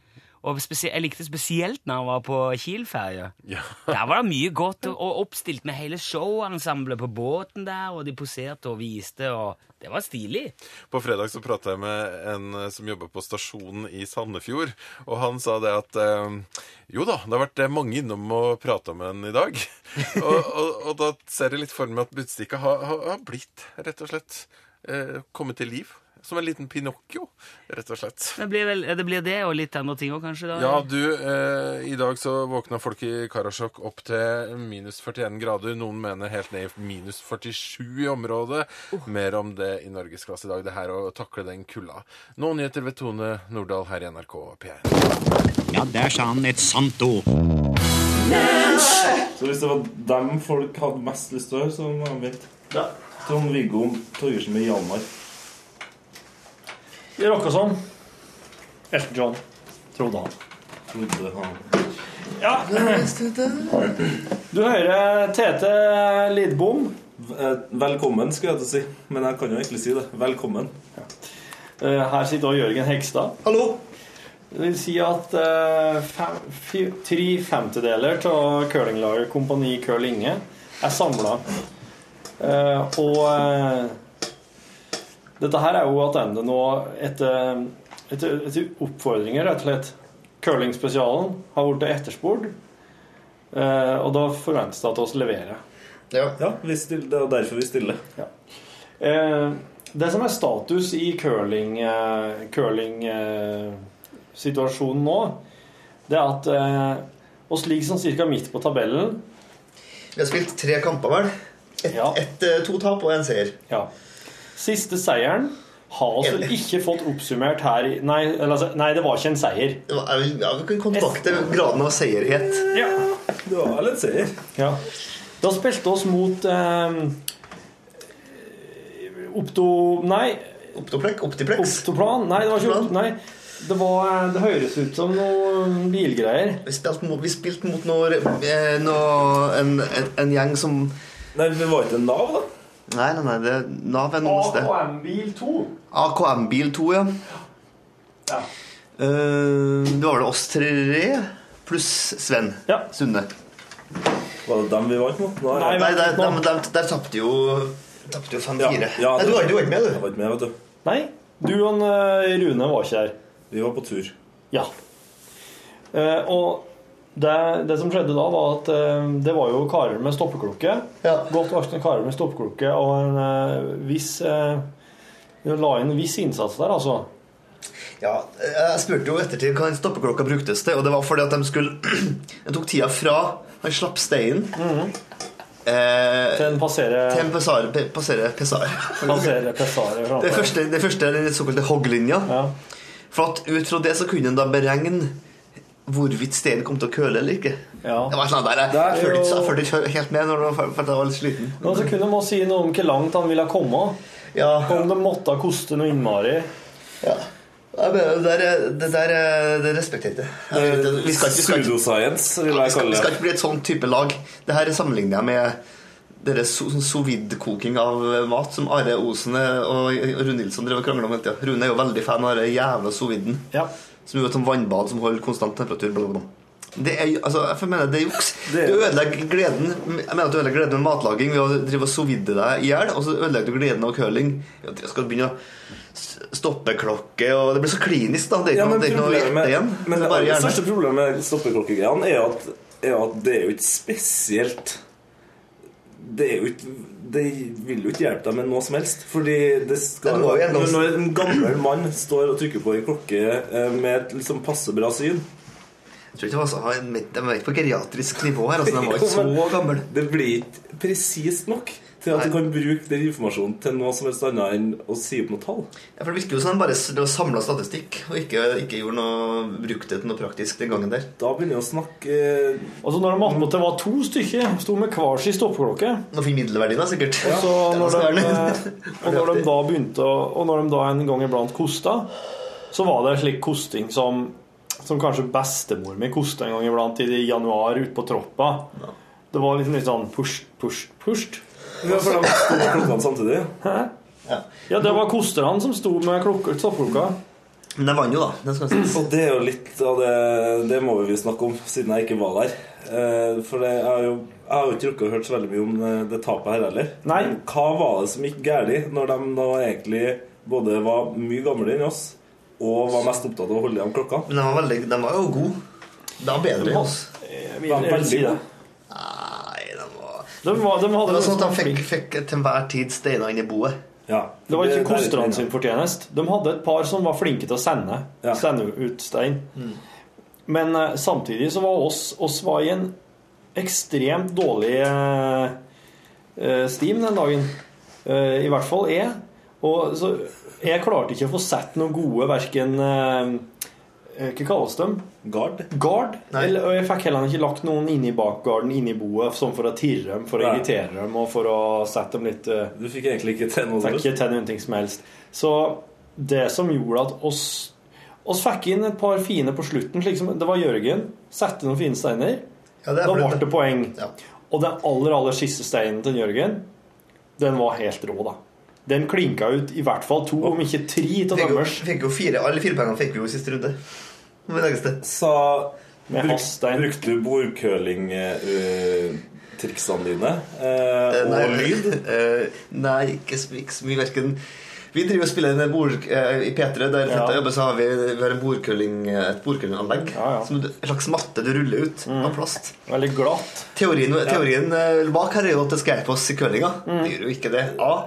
Og spesie- Jeg likte spesielt når jeg var på Kiel-ferja. ja. Der var det mye godt og- og oppstilt med hele showensemblet på båten der, og de poserte og viste, og det var stilig. På fredag så prata jeg med en eh, som jobber på stasjonen i Sandefjord. Og han sa det at eh, jo da, det har vært eh, mange innom og prata med en i dag. og, og, og da ser jeg litt for meg at Budstikka har, har, har blitt, rett og slett, eh, kommet til liv. Som en liten Pinocchio, rett og slett. Det blir, vel, det blir det, og litt andre ting òg, kanskje? da? Ja, du, eh, i dag så våkna folk i Karasjok opp til minus 41 grader. Noen mener helt ned i minus 47 i området. Mer om det i Norgesklasse i dag, det her å takle den kulda. Nå nyheter ved Tone Nordahl her i NRK P1. Ja, der sa han et sant ord. Så hvis det var dem folk hadde mest lyst til å høre, så må de vente. Trond-Viggo Torgersen med Hjalmar. Vi rocker sånn. Elton John. Trodde han. Trodde han Ja. Du hører Tete Lidbom. Eh, Velkommen, skulle jeg til å si. Men jeg kan jo egentlig si det. Velkommen. Eh, Her sitter også Jørgen Hegstad. Hallo! Det vil si at eh, fem, fi, tre femtedeler av curlinglaget Kompani Curl Inge er samla. og eh, dette her er jo tilbake nå etter, etter, etter oppfordringer, rett og slett. Curlingspesialen har blitt etterspurt, eh, og da forventes det at oss leverer. Ja, vi stiller, det er derfor vi stiller. Eh, det som er status i curling, eh, curling eh, situasjonen nå, det er at eh, oss ligger sånn cirka midt på tabellen. Vi har spilt tre kamper, vel? Et, Ja. et, eh, to tap og én seier. Ja. Siste seieren har oss vel ikke fått oppsummert her i Nei, eller, altså, nei det var ikke en seier. Det var- Ja, vi kan kontakte graden av seierhet. Ja. Det var vel en seier. ja. Da spilte oss mot eh, Opto... Nei, Optoplek, Optiplex. Optoplan? Nei, det var ikke Opto... Nei. Det, var, eh, det høres ut som noen bilgreier. Vi spilte mot, vi spilte mot noe, eh, noe, en, en, en gjeng som Nei, det var ikke en Nav, da. Nei, nei, nei, det er Nav er noe sted. AKM-bil 2. AKM-bil 2, ja. Ja. Eh, det var vel oss tre pluss Sven Ja. Sunde. Var det dem vi vant mot? Nei, Nei, Nei, vent der, nå. der, der, der tapte jo Tapte jo 5-4. Ja, ja, Nei, det- du var, du var ikke med, Jeg du. var ikke med, vet du. Nei, du og en, eh, Rune var ikke her. Vi var på tur. Ja. Eh, og det, det som skjedde da, var at eh, det var jo karer med stoppeklokke. Ja. Godt voksne karer med stoppeklokke og en eh, viss eh, de La inn en viss innsats der, altså. Ja, jeg spurte jo ettertid hva den stoppeklokka bruktes til, og det var fordi at de skulle De tok tida fra han slapp steinen eh, Den passerer til en pesar, pe, passere, pesar. Passerer Pessare Det framfor. første, det første er den såkalte hogglinja. Ja. For at ut fra det så kunne en da beregne hvorvidt steinen kom til å køle eller ikke. Ja. Det var et eller annet der. Jeg, Der er følte ikke- jo- jeg følte ikke helt med når det var, for at jeg var litt sliten. Men så kunne man si noe om hvor langt han ville komme. Ja. Om det måtte koste noe innmari. Ja. Nei, men Det der, er- det der er- det respekterer jeg ikke. Jeg vet ikke. Vi skal, ikke- vi skal, ikke- Eh, Pseudoscience, vil vi jeg skal, vi kalle skal det. ikke bli et sånn type lag. Det her sammenligner jeg med deres so- sånn sovid-koking av mat som Are Osen og Rune Nilsson drev og krangla om hele tida. Rune er jo veldig fan av den jævla soviden. Ja. Som er et sånt vannbad som holder konstant temperatur. Bla, bla, bla. Det er, jo- altså, jeg mener det er juks. Du ødelegger gleden Jeg mener at du ødelegger gleden med matlaging ved å drive og sovidde deg i hjel, og så ødelegger du gleden av curling. Ja, Jeg skal begynne å s- stoppe klokke og Det blir så klinisk, da. Det er ikke Ja, noe men det er ikke noe å gjette problemet, igjen. men Det er det bare aller hjerne. største problemet med stoppeklokkegreiene er, jo at- er jo at det er jo ikke spesielt Det er jo ikke det vil jo ikke hjelpe deg med noe som helst. Fordi det skal Det må jo når, gjennom- når en gammel mann står og trykker på en klokke eh, med et liksom passe bra syn Jeg tror ikke det var så, de var ikke på geriatrisk nivå her. Altså, <laughs> de var ikke Jo, men- så gamle. Det blir ikke presist nok til at du Nei. kan bruke den informasjonen til noe som helst annet enn å si opp noe tall. Ja, for Det virker jo som de bare samla statistikk og ikke, ikke gjorde noe, brukte det til noe praktisk den gangen der. Da begynner jeg å snakke eh, Og så når de attpåtil var to stykker, sto med hver sin stoppeklokke Nå fikk middelverdien, da, sikkert. Og så <laughs> Det når var de, eh, eh, stjernen. og når de da begynte å, Og når de da en gang iblant kosta, så var det slik kosting som Som kanskje bestemor mi kosta en gang iblant i det- i januar ute på troppa. Det var liksom litt sånn push, push, push. Ja, for de sto med klokkene samtidig. Ja, det var kosterne som sto med klokka, stoppeklokka. Men de vant jo, da. Det skal sies. Og det er jo litt av det Det må vi jo snakke om, siden jeg ikke var der. Eh, For det er jo, jeg har jo ikke rukket å hørt så veldig mye om eh, det tapet her heller. Nei. Men Hva var det som gikk galt når de da egentlig både var mye gamle enn oss, og var mest opptatt av å holde de klokkene? Men de var, veldig, de var jo gode. De var bedre enn oss. Eh, Jeg var vil si det. veldig- Nei, de var De, var, de hadde liksom Det var sånn at de fikk, fikk til enhver tid steiner inn i boet. Ja. Det var ikke der- kosterne sin fortjeneste. De hadde et par som var flinke til å sende, Ja. sende ut stein. Men eh, samtidig så var oss, oss var i en ekstremt dårlig eh, eh, steam den dagen. Eh, I hvert fall jeg. Og så jeg klarte ikke å få sett noen gode verken eh, eh, Hva kalles de? Gard? Guard? Eller, og jeg fikk heller ikke lagt noen inni bakgarden, inni boet, sånn for å tirre dem, for å Nei. irritere dem og for å sette dem litt eh, Du fikk egentlig ikke til noe som Fikk helst. ikke til noen ting som helst. Så det som gjorde at oss oss fikk inn et par fine på slutten. Slik som, det var Jørgen. Sette noen fine steiner. Ja, det er da fordi- ble det poeng. Ja. Og den aller, aller siste steinen til Jørgen, den var helt rå, da. Den klinka ut i hvert fall to, om ikke tre, av Fikk jo, deres fikk jo fire, alle fire pengene fikk vi jo i siste runde. Det var det eneste. Sa med bruk, hasstein. Brukte du bordcurling-triksene dine? Eh, Eh, nei, og lyd? eh, nei, ikke, så- ikke så mye hverken Vi driver og spiller en bord, eh, i P3, der Ja. Fetta jobber, så har vi, vi har en bordkølling, et bordkøllinganlegg. Ja, ja. Som du- en slags matte du ruller ut av plast. Veldig glatt. Teorien, teorien eh, bak her er jo at det skal hjelpe oss i curlinga. Mm. Det gjør jo ikke det. A.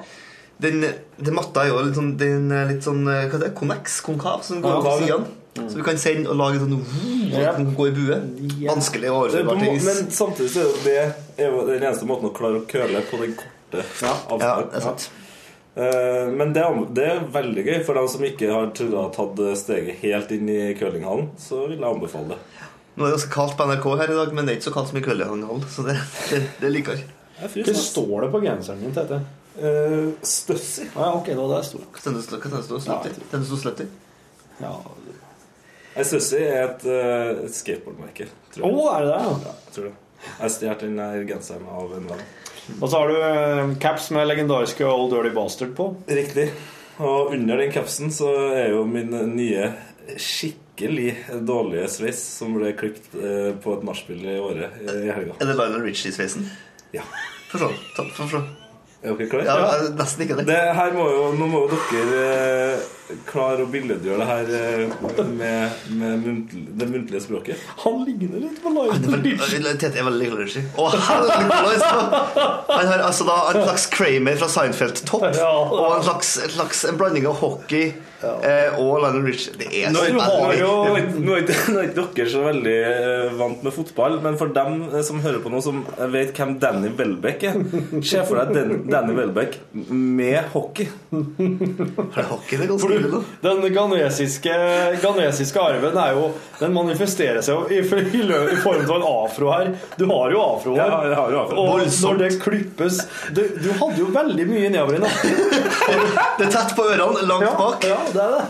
Den, den matta er jo litt sånn, den er litt sånn eh, hva heter det, koneks, konkav, som går Ja, over det- sidene. Så vi kan sende og lage sånn vroom, Ja. at den går i bue. Vanskelig å Det, overføre du må, til is. men samtidig så er jo det er jo den eneste måten å klare å køle på den korte Ja, avstanden. det er sant. Eh, Men det, er- det er veldig gøy for dem som ikke har trodd å ha tatt steget helt inn i curlinghallen. Så vil jeg anbefale det. Nå er det ganske kaldt på NRK her i dag, men det er ikke så kaldt som i Køllehanghold, så det, det, det liker jeg. Jeg Hva fryser. står det på genseren min, Tete? Eh, Støssi. Ah, ja, ok, det var det det sto. Hva tennes det stå Ja, slett jeg i? Tennes det stå slett i? Ja. Eh, Støssi er et, eh, et skateboardmerke, Å, tror jeg. er det det? ja? Ja, jeg tror det. Jeg stjal den der genseren av en venn. Og så har du eh, caps med legendariske Old Dirty Bastard på. Riktig. Og under den kapsen så er jo min nye skikkelig dårlige sveis som ble klippet eh, på et nachspiel i året eh, i helga. Er det Lionel Richie-sveisen? Ja. For sånn. ta- For sånn. Er dere klare? Ja, det er nesten ikke det. Det her må jo, nå må jo dere eh, klare å billedgjøre det her eh, med, med muntl, det muntlige språket. Han ligner litt <laughs> på Lionel Mm. Richie. Tete er veldig glad i Richie. Å, helvete, Nicolai, så- Han har altså da en slags Kramer fra Seinfeld-topp Ja. og en slags, en slags en blanding av hockey eh, og Lionel Richie. Det er Nå så er nå er veldig jo nå er ikke nå er ikke dere så veldig eh, vant med fotball, men for dem eh, som hører på nå, som vet hvem Danny Welbeck er Se for deg Dan- Danny Welbeck med hockey. For hockey det er ganske For ille, du, da. den ganesiske, ganesiske arven er jo Den manifesterer seg jo i, i, lø- i form av en afro her. Du har jo afro her. Ja, jeg har jo afro. Og Voldsomt. når det klippes Du, du hadde jo veldig mye nedover i nakken. Det er tett på ørene, langt bak. ja, det er det.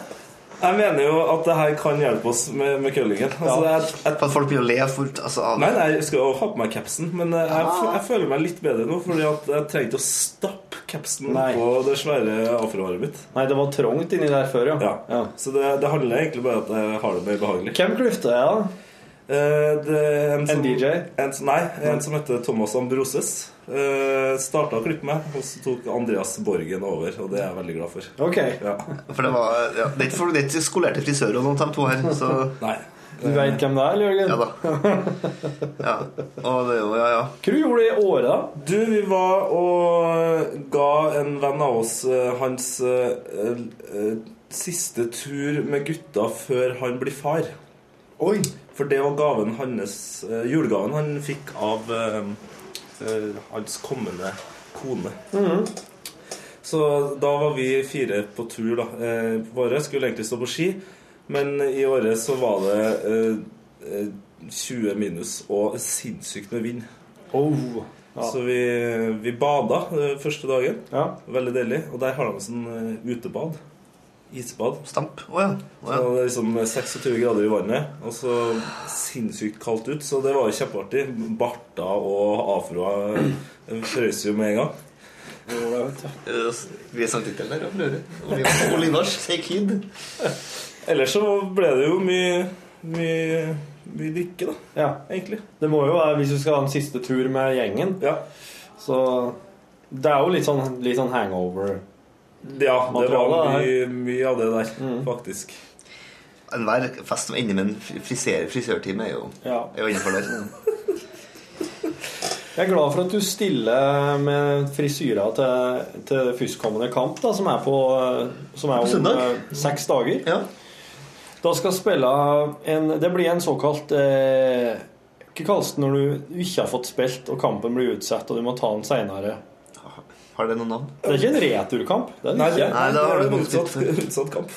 Jeg mener jo at det her kan hjelpe oss med, med køllingen. Altså, jeg, jeg, For at folk begynner å le fort. Altså, av- nei, nei, jeg skal jo ha på meg capsen, men eh, jeg, fø- jeg føler meg litt bedre nå, fordi at eh, jeg trengte å stappe capsen Nei. på det svære afrohåret mitt. Nei, det var trangt inni der før, ja. Ja. Så det, det handler egentlig bare om at jeg har det mer behagelig. Hvem klifta jeg, da? Eh, det er en, som, DJ? En, som- nei, en som heter Thomas Ambroses. Uh, starta å klippe meg, og så tok Andreas Borgen over, og det er jeg veldig glad for. Ok. Ja. For det var ja, Det er ikke, for- det er ikke skolerte frisører og noen av de to her, så Nei. Du veit hvem det er, Jørgen? ja da. Ja. Og det er jo Ja, ja. Hva du gjorde det i året, da? Du, vi var og ga en venn av oss eh, hans eh, eh, siste tur med gutta før han blir far. Oi. For det var gaven hans eh, julegaven han fikk av eh, eh, hans kommende kone. Så da var vi fire på tur, da. Eh, våre skulle egentlig stå på ski, men i året så var det eh, eh, 20 minus og sinnssykt med vind. Oh. Ja. Så vi, vi bada eh, første dagen. ja. Veldig deilig. Og der har de sånn eh, utebad. Isbad. Stamp. Å ja. Å, Så ja. det er liksom 26 grader i vannet, og så sinnssykt kaldt ut. Så det var jo kjempeartig. Barta og afroa eh, frøs jo med en gang. Eh, Vi er sangtittelen her, ja. for øvrig. Oliv- Olivars Take Heed. Ellers så ble det jo mye mye, mye drikke, da. ja. Egentlig. Det må jo være hvis du skal ha en siste tur med gjengen. Ja. Så det er jo litt sånn, litt sånn hangover. ja det var Materialet, mye, mye av det der, faktisk. Enhver fest som ender med en fri- friser, frisørtime, er jo, Ja. er jo innenfor der. Jeg er glad for at du stiller med frisyra til, til førstkommende kamp, da, som er på eh, som er om På søndag? eh, seks dager. Ja. Da skal spille en Det blir en såkalt eh, Hva kalles det når du ikke har fått spilt, og kampen blir utsatt, og du må ta den seinere? Har det noe navn? Det er ikke en returkamp. Det er det ikke. Nei, da har du en kommet utsatt, utsatt kamp.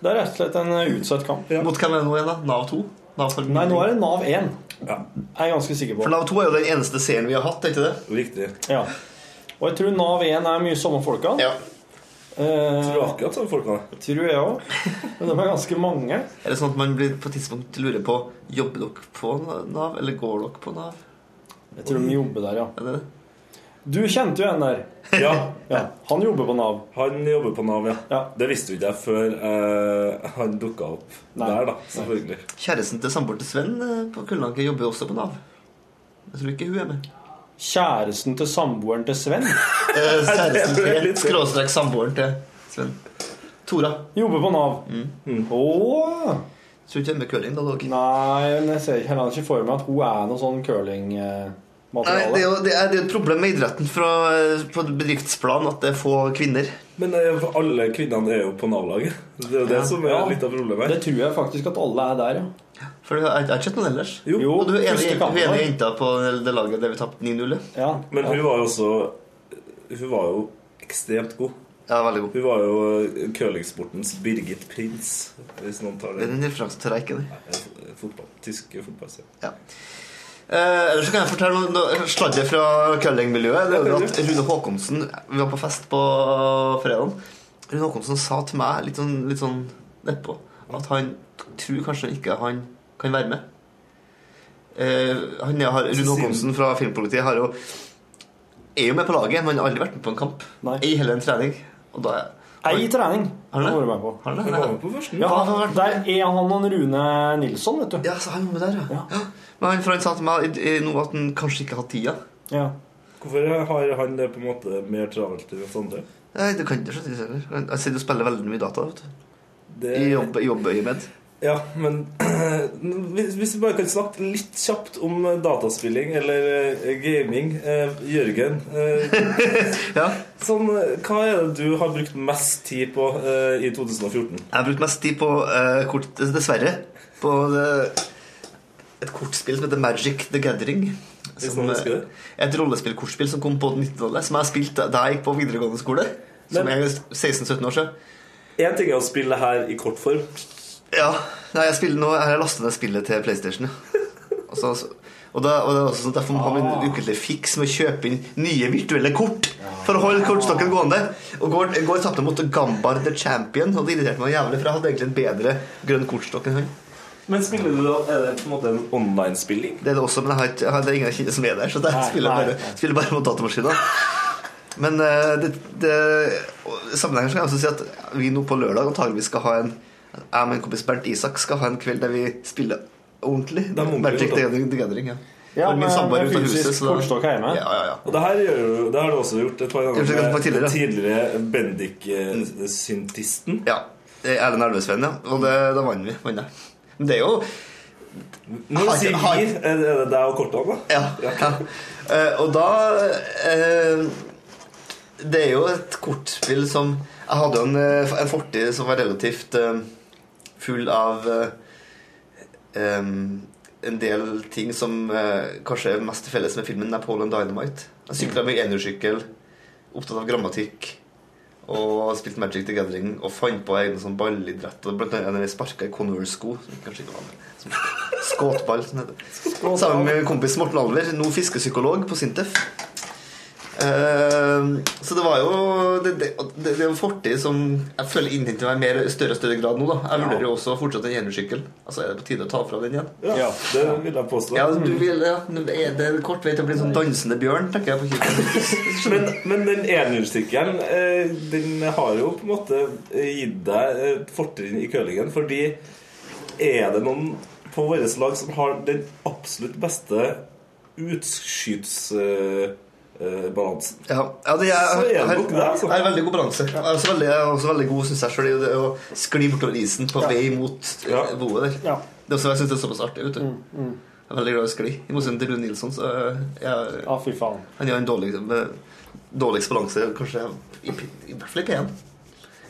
Det er rett og slett en eh, utsatt kamp. Mot hvem er det nå igjen, da? Nav 2? Nav for... Nei, nå er det Nav 1. Jeg er ganske sikker på. For Nav 2 er jo den eneste serien vi har hatt, er ikke det? Riktig. Ja. Og jeg tror Nav 1 er mye samme folka. Ja. Eh, Tror du akkurat sånn folk har det? tror jeg òg. Men de er ganske mange. Er det sånn at man blir på et tidspunkt lurer på Jobber dere på Nav, eller går dere på Nav? Jeg tror de jobber der, ja. Er det det? Du kjente jo en der. Ja. Ja, Han jobber på Nav. Han jobber på Nav, ja. Ja. Det visste jo ikke jeg før eh, han dukka opp Nei. der, da. Selvfølgelig. Kjæresten til samboeren til Sven eh, på Kullanke jobber jo også på Nav. Jeg tror ikke hun er <laughs> med. Kjæresten til samboeren til Sven Eh, Kjæresten Det er til litt- Skråstrek samboeren til Sven. Tora. jobber på Nav. Mm. Åh. Tror ikke hun er med curling, da, dog. Nei, men jeg ser ikke heller ikke for meg at hun er noe sånn Nei, det er curlingmateriale. jo det er, det er et problem med idretten fra, eh, på bedriftsplan at det er få kvinner. Men eh, alle kvinnene er jo på Nav-laget. Det er jo det som er Ja. litt av problemet Det her. tror jeg faktisk at alle er der, ja. For det har- jeg har ikke sett noen ellers. Jo, Jo, Og du er enig første hun kampen. ene jenta på det laget der vi tapte 9-0? ja? ja. Men hun var jo også Hun var jo ekstremt god. Ja, veldig god. Hun var jo eh, curlingsportens Birgit Prins, hvis noen tar Det er det. en referanse til Reiken. det. Eh, Fotball. Tysk fotballserie. Ja. Eh, ellers så kan jeg fortelle noe- noe sladder fra curlingmiljøet. Det er jo at Rune Håkonsen Vi var på fest på fredag. Rune Håkonsen sa til meg litt sånn, litt sånn nedpå at han tror kanskje ikke han kan være med. Eh, han er, har, Rune Håkonsen fra Filmpolitiet har jo er jo med på laget, men har aldri vært med på en kamp. Nei. Ei heller en trening. Og da er Ei trening har Har han det? hun vært med på. Har han Hun det? var med på første. Ja, Ja, han har vært- der er han og Rune Nilsson, vet du. Ja, så han var med der, ja. ja. Men han, for han sa til meg i- i- nå at han kanskje ikke har tida. Ja. Hvorfor har han det på en måte mer travelt enn oss andre? Nei, det kan jeg ikke si heller. Han- Jeg sitter og spiller veldig mye data. vet du Det, I jobb, i jobbøyemed. Ja, men <clears throat> hvis, hvis vi bare kan snakke litt kjapt om eh, dataspilling eller eh, gaming. Eh, Jørgen, <laughs> eh, Ja. sånn, eh, hva er det du har brukt mest tid på eh, i 2014? Jeg har brukt mest tid på eh, kort, dessverre, på det, et kortspill som heter Magic the Gathering. Hvis Som, noen husker eh, det. et rollespillkortspill som kom på 1900-tallet, som jeg spilte da jeg gikk på videregående skole. Som Men- jeg er 16-17 år siden. Én ting er å spille det her i kort form. Ja, nei, jeg spiller nå Jeg har lastet ned spillet til Playstation ja. og, så, og, da, og det er også sånn at derfor må man ha min ukelige fiks Med å kjøpe inn nye virtuelle kort For å holde kortstokken gående Og går, går tappte mot Gambar the Champion Og det irriterte meg jævlig For jeg hadde egentlig en bedre grønn kortstokk enn han Men spiller du da, er det på en måte en online-spilling? Det er det også, men jeg har, ikke- jeg har, det er ingen jeg kjenner som er der Så jeg Nei, spiller, nei, bare, nei. spiller bare mot datamaskinen Men eh, det, det, og i sammenhengen skal jeg også si at Vi nå på lørdag antageligvis skal ha en Jeg og min kompis Bernt Isak skal ha en kveld der vi spiller ordentlig. er ordentlig, Magic da. the Gathering, the Gathering ja. Ja, Og min med- samboer med ute av fysisk huset, så da- kortstokk hjemme. Ja, ja, ja. Og det her, gjør, du- det har du også gjort et par Gjort det ganger ganske tidligere, ja. tidligere Bendik-syntisten. ja. det er Erlend Elvesven, ja. Og det, da vant vi. Vant jeg. Men det er jo Når du Har- sier har- vi, er det er det deg og Kortan, da? Ja. ja. Eh, og da eh, Det er jo et kortspill som Jeg hadde jo en, eh, en fortid som var relativt eh, full av eh, em, en del ting som eh, kanskje er mest til felles med filmen Napoleon Dynamite. Jeg sykla med enhjulssykkel, opptatt av grammatikk. Og spilte Magic the Gathering og fant på egne sånn ballidretter. Blant annet jeg sparka i Converse-sko. som kanskje ikke var med. Som- Skåtball, som det heter. Sammen med kompis Morten Alver, nå fiskepsykolog på Sintef. Eh, så det var jo Det, det, og det, det er en fortid som jeg føler innhenter meg mer i større og større grad nå. da Jeg vurderer jo også fortsatt en enhjulssykkel. Altså, er det på tide å ta fra den igjen? Ja, det vil jeg påstå. Ja, du vil, ja nå er det kort vei til å bli en sånn dansende bjørn, tenker jeg på kjøkkenet. Men, men den enhjulssykkelen eh, Den har jo på en måte eh, gitt deg eh, fortrinn i curlingen. Fordi er det noen på vårt lag som har den absolutt beste eh, utskytsbalansen? Ja, ja det, jeg, Så er det jeg, nok det, altså. jeg har veldig god balanse. Jeg er også veldig, jeg er også veldig god, syns jeg, selv i det å skli bortover isen på vei mot eh, Ja. Mm, boet der. Ja. Det er også, jeg syns det er såpass artig. Vet du. Jeg er veldig glad i å skli. I motsetning til Rune Nilsson, så eh, jeg, ja, fy faen. han har en dårlig, med- dårligst balanse, kanskje i, i hvert fall i P1.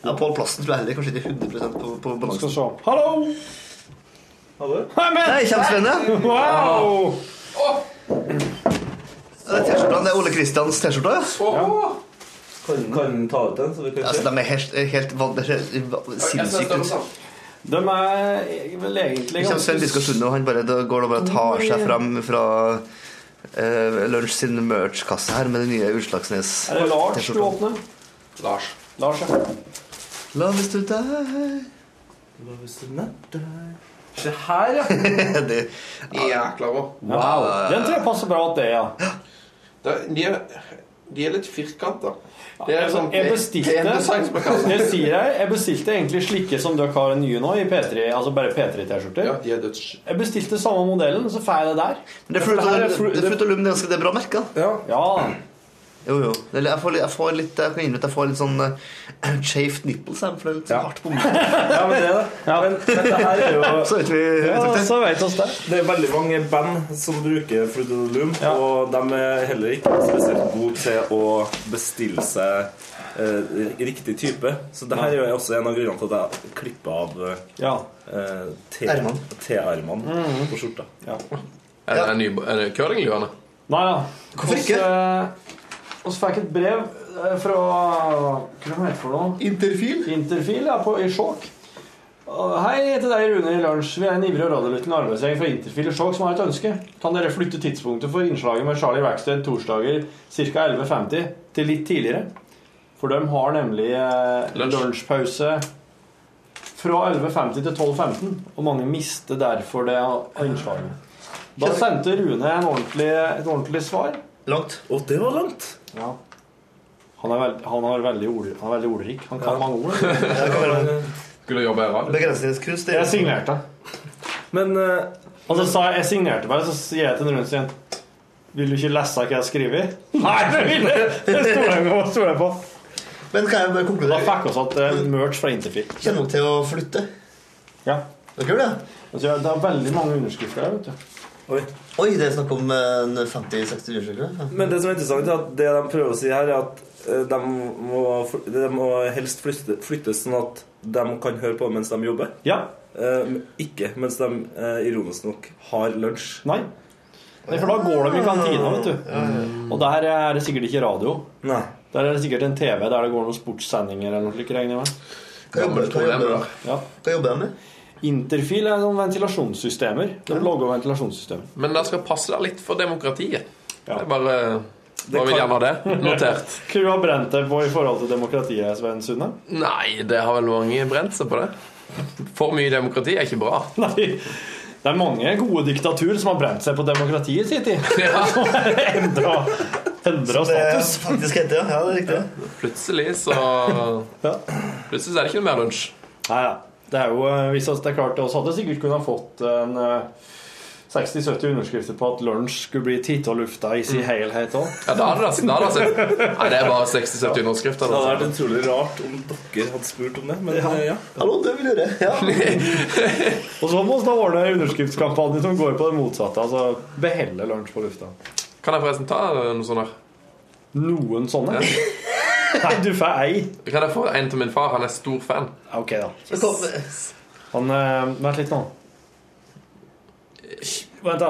Ja, Pål Plassen tror jeg heller kanskje ikke 100 på, på Skal vi balansen. se. Hallo! Hei, men! Nei, kjempespennende! <laughs> Wow! Ja, Det er T-skjorta. Det er Ole Kristians T-skjorte. Kan kan ta ut den, så vi kan Altså, se? de er helt, helt, van- helt sinnssykt ut. De er vel egentlig Det kommer Sven ganske Mm, Biskår Sunde, og han bare, da går det bare og tar seg fram fra uh, Lunsj sin merch-kasse her med det nye Utslagsnes. Er det Lars du T-skjorta. åpner? Lars. Lars, ja. Love is to die. Hva hvis du natt der? Se her, ja. <laughs> det, Jækla bra. Wow. Den tror jeg passer bra at det, ja. Det, de, er, de er litt firkanta. Det er Jeg- sånn jeg det bestilte er designs på kassa. <laughs> Jeg sier jeg, jeg bestilte egentlig slike som dere har nye nå, i P3, altså bare P3-T-skjorter. Ja, de er døds... Jeg bestilte samme modellen, så får jeg det der. Men det er Fruit Dette her er Olum- fru- det er Fruit Olum, det er ganske det er bra merke. da. Ja, Jo, jo. Det er- Jeg får, litt- jeg får litt Jeg kan innrømme at jeg får litt sånn eh, <clears throat> chafed nipples, jeg, for det er litt sånn hardt på meg. ja men det, da. Men dette her er jo Så vet vi <laughs> ja vet vi- så vet oss det. Det er veldig mange band som bruker Frudelum, Ja. og de er heller ikke spesielt gode til å bestille seg eh, riktig type. Så det her er jo også en av grunnene til at jeg klipper av Ja. eh, te- Ermene. T-armene på skjorta. Er det, en ny, er det curlingluene? Nei da. Hvorfor Oss, ikke? eh, oss fikk et brev eh, fra Hva heter det for noe? Interfil. Interfil ja, på, i Skjåk. Og Hei, jeg heter deg, Rune i Lunsj. Vi er en ivrig og radiolyttende arbeidsgjeng fra Interfil i Skjåk som har et ønske. Kan dere flytte tidspunktet for innslaget med Charlie Rackstead torsdager ca. 11.50 til litt tidligere? For de har nemlig eh, Lunsj. lunsjpause fra 11.50 til 12.15, og mange mister derfor det innslaget. Da sendte Rune en ordentlig, et ordentlig svar. Langt. Og det var langt! Ja. Han er, veld, han, er veldig ord, han er veldig ordrik. Han kan mange ord. Ja, det kan være Skulle jobbe i radio. Begrensningskunst. det er- Jeg signerte. Men eh, Og så sa jeg jeg signerte bare, så sier jeg til den rundt igjen Vil du ikke lese hva jeg har skrevet? <laughs> Nei, det vil jeg! Det stoler jeg på. stoler jeg på. Men kan jeg bare Da konkludere? fikk vi oss at eh, merch fra Interfil. Kjenner dere til å flytte? Ja. Dere gjør det? Altså, ja, det er veldig mange underskrifter der, vet du. Oi. Oi, det er snakk om eh, 50-60 undersøkelser. Men det som er interessant, er at det de prøver å si her, er at eh, de må, fl- de må helst flytte, flyttes sånn at de kan høre på mens de jobber. Ja. Eh, men ikke mens de eh, ironisk nok har lunsj. Nei. Nei, for da går de i kantina, vet du. Og der er det sikkert ikke radio. Nei. Der er det sikkert en TV der det går noen sportssendinger eller noe slikt, regner jeg med. Hva jobber hva jobber- Ja. hva jobber jeg med? Interfil er noen ventilasjonssystemer. De lager ventilasjonssystemer. Men det skal passe deg litt for demokratiet. Ja. Det er bare Hva vil gjerne ha det? Notert. Hva har du brent deg på i forhold til demokratiet, Svein Sunde? <laughs> Nei, det har vel mange brent seg på det. For mye demokrati er ikke bra. Nei. Det er mange gode diktatur som har brent seg på demokratiet sitt i. <laughs> Som har endra endra Det er status. faktisk hette, ja. ja. Det er riktig. Plutselig så Ja. Plutselig så er det ikke noe mer lunsj. Nei, ja. Det er jo, eh, hvis oss- det er klart, oss hadde sikkert kunnet ha fått en eh, 60-70 underskrifter på at lunsj skulle bli titt og lufta i sin helhet òg. Ja, da hadde det altså- da hadde det sett Nei, det er bare 60-70 underskrifter. Det hadde vært altså. utrolig rart om dere hadde spurt om det. Men ja. ja. Hallo, det vil jeg gjøre. Ja. Og så må vi da ordne en underskriftskampanje som går på det motsatte. Altså beholde lunsj på lufta. Kan jeg forresten ta eh, noe sånt her? Noen sånne? Nei, du får ei. Kan jeg få en til min far? Han er stor fan. Ok, da. Det kom- Han eh, Vent litt nå. Vent, da.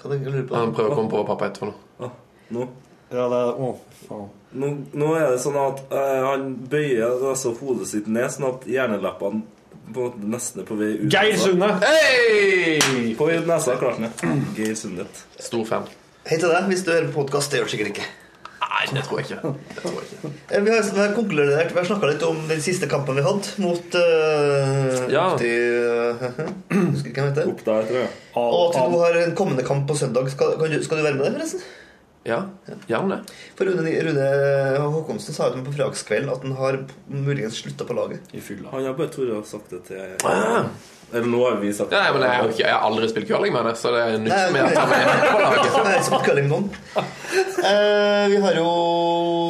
Kan jeg lure på Han prøver å komme på hva pappa heter for noe. Nå. Ja, det er, å, faen. Nå, nå er det sånn at eh, han bøyer altså hodet sitt ned, sånn at hjernelappene på en måte nesten er på vei ut. Geir Sunde! Hei! På vei ut nesa, klart ned. Geir Sundet. Stor fan. Hei til deg, hvis du hører på podkast. Det gjør du sikkert ikke. Nei, det tror jeg ikke. Det tror jeg ikke. Eh, Vi har, vi har konkludert, vi har snakka litt om den siste kampen vi hadde mot uh, Ja. <laughs> Husker ikke hva han heter. Opp der, tror jeg. Og at vi nå har en kommende kamp på søndag. Skal, kan du, skal du være med der, forresten? Ja, gjerne. For Rune, Rune Håkonsen sa jo til meg på fredagskvelden at han har muligens slutta på laget. I fylla. Han har bare tort å sagt det til Ah. Eller nå har vi sagt Ja, det. nei, men jeg har, ikke, jeg har aldri spilt curling med henne, så det er nytt Nei, med at han er med på laget. Så er <laughs> det som curling noen. Eh, vi har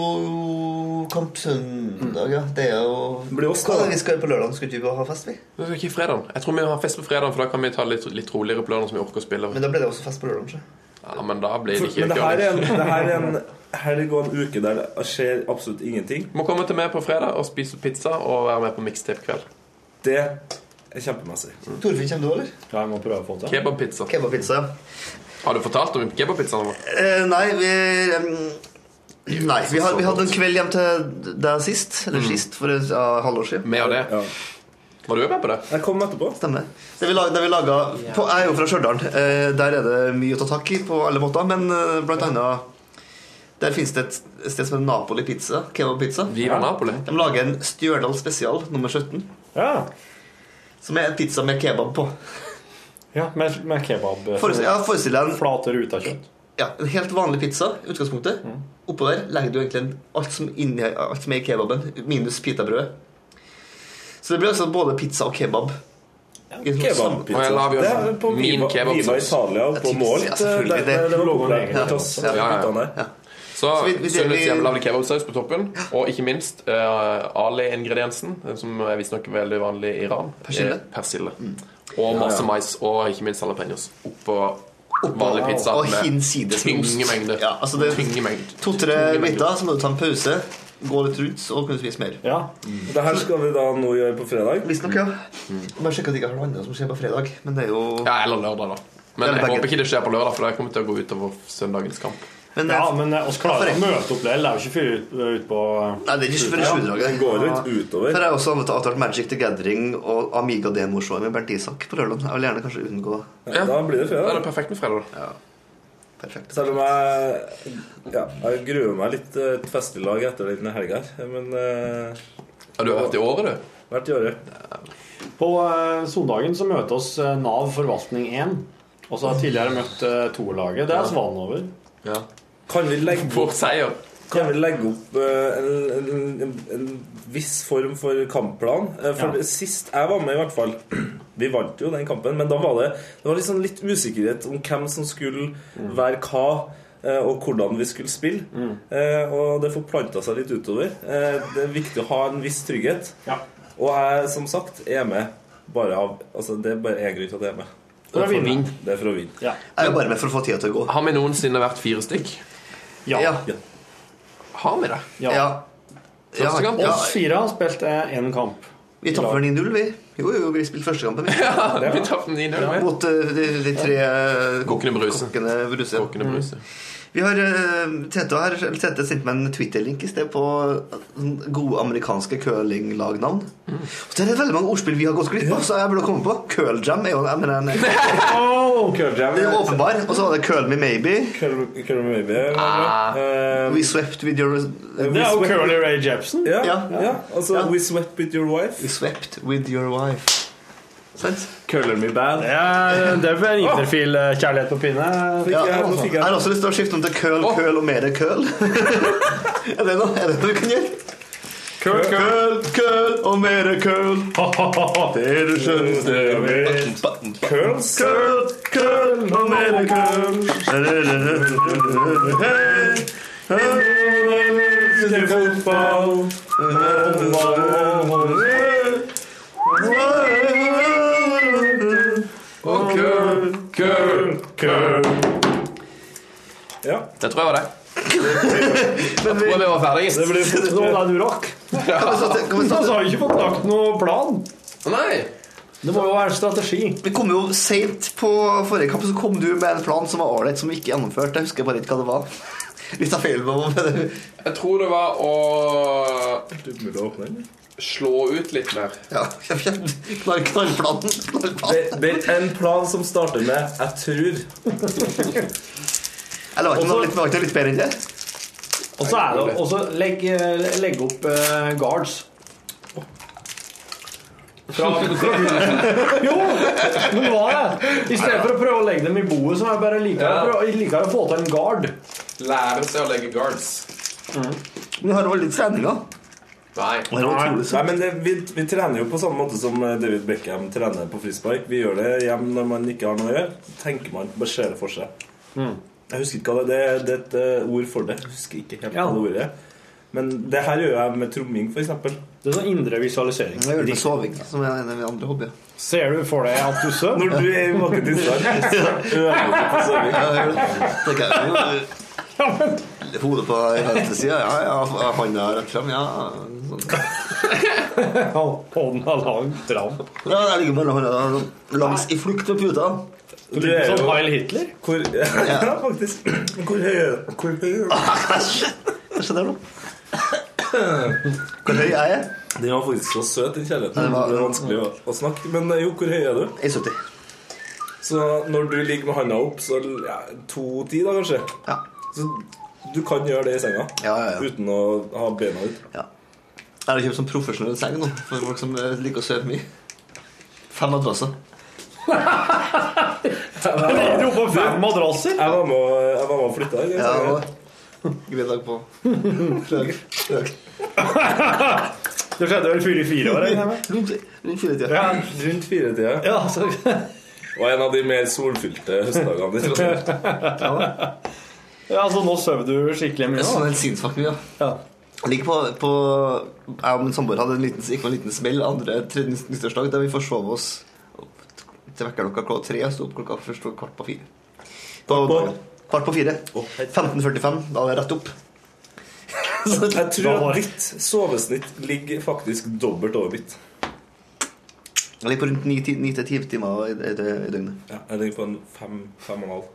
jo kamp søndag, ja. Det er jo Det blir oss, da. Hva er det Vi skal på lørdag. Skal ikke vi ha fest, vi? Men det er Ikke fredagen. Jeg tror vi har fest på fredagen, for da kan vi ta litt, litt roligere på lørdagen som vi orker å spille. Men da blir det også fest på lørdag. så. Ja, men da blir det ikke Men det her curling. er en, det her er en helg og en uke der det skjer absolutt ingenting. Må komme til meg på fredag og spise pizza og være med på mixtape-kveld. Det er kjempemessig. Torfinn, kommer du, eller? Ja, jeg må prøve å få til. Kebabpizza. Kebabpizza, ja. Har du fortalt om kebabpizzaen vår? Eh, nei, vi em, Nei, vi, had, vi hadde en kveld hjem til deg sist, eller sist, for et ja, halvår siden. Mm. Med og det. Var du med på det? Jeg kom etterpå. Stemmer. Det vi lag- det vi laget, på, jeg er jo fra Stjørdal. Eh, der er det mye å ta tak i på alle måter, men eh, blant annet Der finnes det et sted som heter Napoli Pizza. Kebab Pizza. Viva Napoli. De lager en Stjørdal spesial, nummer 17, Ja. som er en pizza med kebab på. ja med, med kebab. eh, Forestill, ja, forestill deg en Flate ruta kjøtt. ja, en helt vanlig pizza i utgangspunktet. Mm. Oppå der legger du egentlig en- alt som, inni, alt som er i kebaben, minus pitabrødet. Så det blir altså både pizza og kebab. I en sånn sam- Og jeg la Kebabpizza. vi jo Det er på min Viva, kebabsaus. Viva Italia på tipser, Målt. ja, Der, selvfølgelig. der, Det- det logoen Ja, egentlig til oss ja, ja, ja. guttene. Så altså, vi- Ah, vi- Sunnets vi- hjemmelagde kebabsaus på toppen, og ikke minst eh, Ali-ingrediensen, eh, som er visstnok veldig vanlig i Iran. Persille. Eh, persille. Og masse mais, og ikke minst jalapeños oppå vanlig pizza. og hinsides med ost. tyngemengde. Ja, altså det- Tyngemengde. To-tre biter, så må du ta en pause, gå litt rundt og kunne spise mer. Ja. Det her skal vi da nå gjøre på fredag. Visstnok, ja. Bare sjekke at jeg ikke har noe annet som skjer på fredag. Men det er jo Ja, eller lørdag, da. Men Eller jeg begge. håper ikke det skjer på lørdag, for det kommer til å gå utover søndagens kamp. men, ja, men eh, oss klarer å Hvorfor møte opp der. Det er jo ikke fyr ut, ut på eh, Nei, det er ikke før i sjudraget. Det går litt For utover. jeg har også avtalt Magic the Gathering og Amiga-demoshowet med Bernt Isak på lørdag. Jeg vil gjerne kanskje unngå Ja. Da blir det Da er fredag. det perfekt med fredag. da. Perfekt. Selv om jeg, ja, jeg gruer meg litt eh, til et festlig lag etter denne helga her. Men eh, Ja, du har vært i året, du. hvert i året. På eh, søndagen så møter oss eh, Nav forvaltning 1. Og så har jeg tidligere møtt eh, to-laget. Det er vi vant over. Ja. Kan vi legge For seier. Kan vi legge opp eh, en, en, en, en viss form for kampplan? Eh, For Ja. Sist jeg var med, i hvert fall <clears throat> Vi vant jo den kampen, men da var det, det var liksom litt usikkerhet om hvem som skulle Mm. være hva. eh, Og hvordan vi skulle spille. Eh, og det forplanta seg litt utover. Eh, det er viktig å ha en viss trygghet. Ja. Og jeg, som sagt, er med bare av Altså, det er bare én grunn til at jeg er med. For å vinne. Det er for å vinne. Ja. Jeg er jo bare med for å få tida til å gå. Har vi noensinne vært fire stykk? Ja. Ja. Har vi det? ja. ja. Ja, Første kamp. ja, Oss fire har spilt én kamp. vi tapte vel 9-0, vi. Jo, jo, vi spilte første kampen, vi. <laughs> Ja, vi tapte 9-0. med. Mot eh, de, de tre eh, Kokkene Bruse. kokkene Bruse. Kokkene Bruse. Vi har eh, Tete, her, eller Tete sendte meg en Twitter-link i sted på eh, sånn gode amerikanske curlinglagnavn. Mm. Og Det er veldig mange ordspill vi har gått glipp av, så jeg burde komme på. Curljam er jo jeg mener, en- Det er jo åpenbar. Og så var det Curl Me Maybe. Ah. We Swept With Your Det er jo swept- Curly Ray Jepsen. Um, Ja, ja. Ja. Altså Ja. We swept with your wife. We Swept With Your Wife. Sant? Curler me bad. Det er, det er for en interfil eh, kjærlighet på pinne. Ja, jeg- nå altså. fikk jeg- jeg har også lyst til å skifte om til køl, køl og mer <laughs> køl. er, det noe, er det noe vi kan gjøre? Curl, curl. Køl, køl og mer køl. Det er det skjønneste jeg vet. Curls. Køl, køl og mer køl. Hei. Til fotball. Og køl, køl. <laughs> Ja. Det tror jeg var det. Jeg tror vi var ferdige. Det blir Nå er du rakk. Kan vi så- kan vi Så så- har vi ikke fått lagt noen plan. Nei! Det må jo være en strategi. Vi kom jo seint på forrige kamp, så kom du med en plan som var ålreit, som vi ikke gjennomførte. Jeg husker bare ikke hva det var. Vi tar feil på det. Jeg tror det var å Du mulig å åpne den? slå ut litt mer. Ja, knall, knallplaten. knallplaten. Det, det er en plan som starter med 'jeg tror'. Jeg la ikke noe litt, var ikke noe litt bedre enn det. Og så er det og så legg, eh, legg opp eh, guards. Fra, fra jo, men hva er det? I stedet for å prøve å legge dem i boet, så er det bare likere, å prøve- jeg liker å få til en guard. Lære seg å legge guards. Vi har jo litt treninger. Nei. Det er utrolig Nei, søtt. men det, vi, vi trener jo på samme måte som eh, David Beckham trener på frispark. Vi gjør det hjem når man ikke har noe å gjøre. Tenker man bare ser det for seg. Mm. Jeg husker ikke hva det er. Det er et eh, ord for det. Jeg husker ikke helt Ja. hva det ordet er. Men det her gjør jeg med tromming, f.eks. Det er sånn indre visualisering. Jeg gjør det med soving, som er en av mine andre hobbyer. Ser du for deg at du søvner? Når du er i våken <laughs> tilstand. øver du på soving. Ja, jeg gjør det. Det kan jeg jo. Hodet på venstre side, ja, ja. Hånda rett frem, ja. Sånn. Hånda langt fram. Ja, der ligger bare hånda sånn, langs i flukt med puta. Du er Sånn jo <laughs> Heil Hitler. Hvor, ja, faktisk. Hvor høy er du? Hvor høy er du? Hva skjedde her nå? Hvor høy er jeg? Den var faktisk så søt, den Ja, kjærligheten. Det det var- var vanskelig å, å snakke. Men eh, jo, hvor høy er du? 1,70. Så når du ligger med handa opp, så ja, 2,10 da, kanskje? Ja. Så du kan gjøre det i senga Ja, ja, ja. uten å ha bena ut. ja. Jeg har kjøpt sånn profesjonell seng nå for folk som eh, liker å sove mye. Fem madrasser. Dro på fem madrasser! Jeg var med, å- jeg var med og flytta. Ja, og Gledag på. Fredag. Fredag. Det skjedde vel fire i fire år? regner jeg med. Rundt rundt fire tider. Ja, Rundt firetida. ja, altså. så, Og en av de mer solfylte høstdagene. i Trondheim. ja, så nå sover du skikkelig mye? Det er sånn Da. helt sinnssykt mye. ja. Ja. Jeg ligger på, på Jeg og min samboer hadde en liten, gikk på en liten smell andre tredje nyttårsdag der vi forsov oss opp til vekkerklokka klokka tre og sto opp klokka først og kvart på fire. På, på- kvart på fire. 15.45. Da var det rett opp. <laughs> Så sånn. jeg Da tror var- at ditt sovesnitt ligger faktisk dobbelt over mitt. Jeg ligger på rundt ni ti- ni til ti timer i, i, i døgnet. Ja, jeg ligger på en fem, fem og en halv.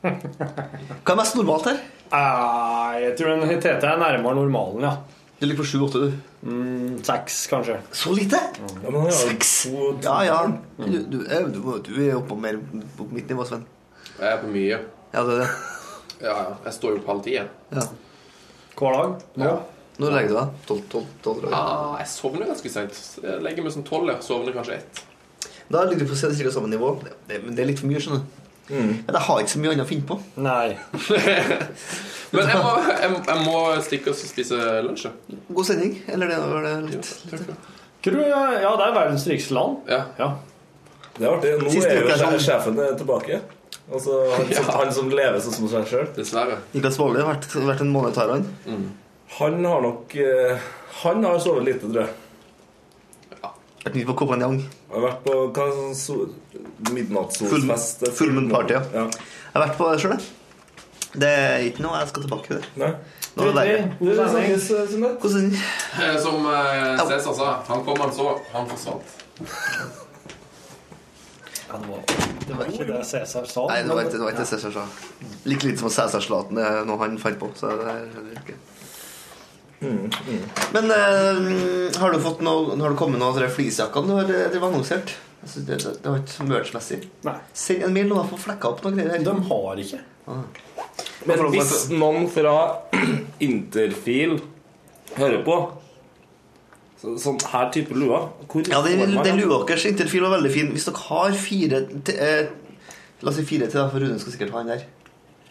Hva er mest normalt her? Eh, Jeg tror den Tete er nærmere normalen, ja. Du ligger på sju-åtte, du. Mm, Seks, kanskje. Så lite? Ja, men han har jo Seks? to, to. Ja, ja. Du, du, er- du, må- du er oppe på mer på mitt nivå, Sven. Jeg er på mye. Ja, det er det. Ja, ja. Jeg står jo opp halv ti, jeg. Ja. Hver dag. Ja. Når legger du deg? Tolv? Tolv? Tolv? tror jeg. Ah, jeg sovner ganske seint. Så Jeg legger meg som tolv. jeg. Sovner kanskje ett. <laughs> Da ligger du på cirka samme nivå. Det, det, men det er litt for mye, skjønner du. Men jeg har ikke så mye annet å finne på. Nei. Men jeg må, jeg, jeg må stikke og spise lunsj. jeg. God sending. Eller det var det litt Tror jeg, ja, det er verdens rikeste land. Ja. Ja. Det er artig. Nå Siste er jo uke er sånn. sje- sjefen er tilbake. Altså han som, han som lever sånn som seg sjøl. Dessverre. Niklas Baarli har vært, vært en måned i Thailand. Han har nok eh, Han har sovet lite, tror jeg. Vært mye på Kopanjang. Han har vært på hva er det sånn so midnattssolfest Full- full moon party, ja. Jeg har vært på det sjøl, jeg. Det er ikke noe jeg skal tilbake til. Nei. Nå er det deilig. Det er sånn- God sending. Eh, Som eh, Cæsar sa, han kom, han så, han forsvant. Det var ikke det Cæsar sa. Nei, det var men- ikke, det var ikke Cæsar sa. Like lite som Cæsarslaten er noe han fant på. Så det er heller ikke Men eh, har, du fått noe, har det kommet noe av de fleecejakkene du har eh, drevet annonsert? Jeg synes det, det, det var ikke merch-messig. Nei. Send en mail nå, da, for å flekke opp noen greier her. De har ikke. Men hvis noen fra <clears throat> Interfil hører på så, Sånn her type lua hvor Ja, får den, man den lua deres interfil var veldig fin. Hvis dere har fire til, eh, La oss si fire til, da, for Rune skal sikkert ha den der.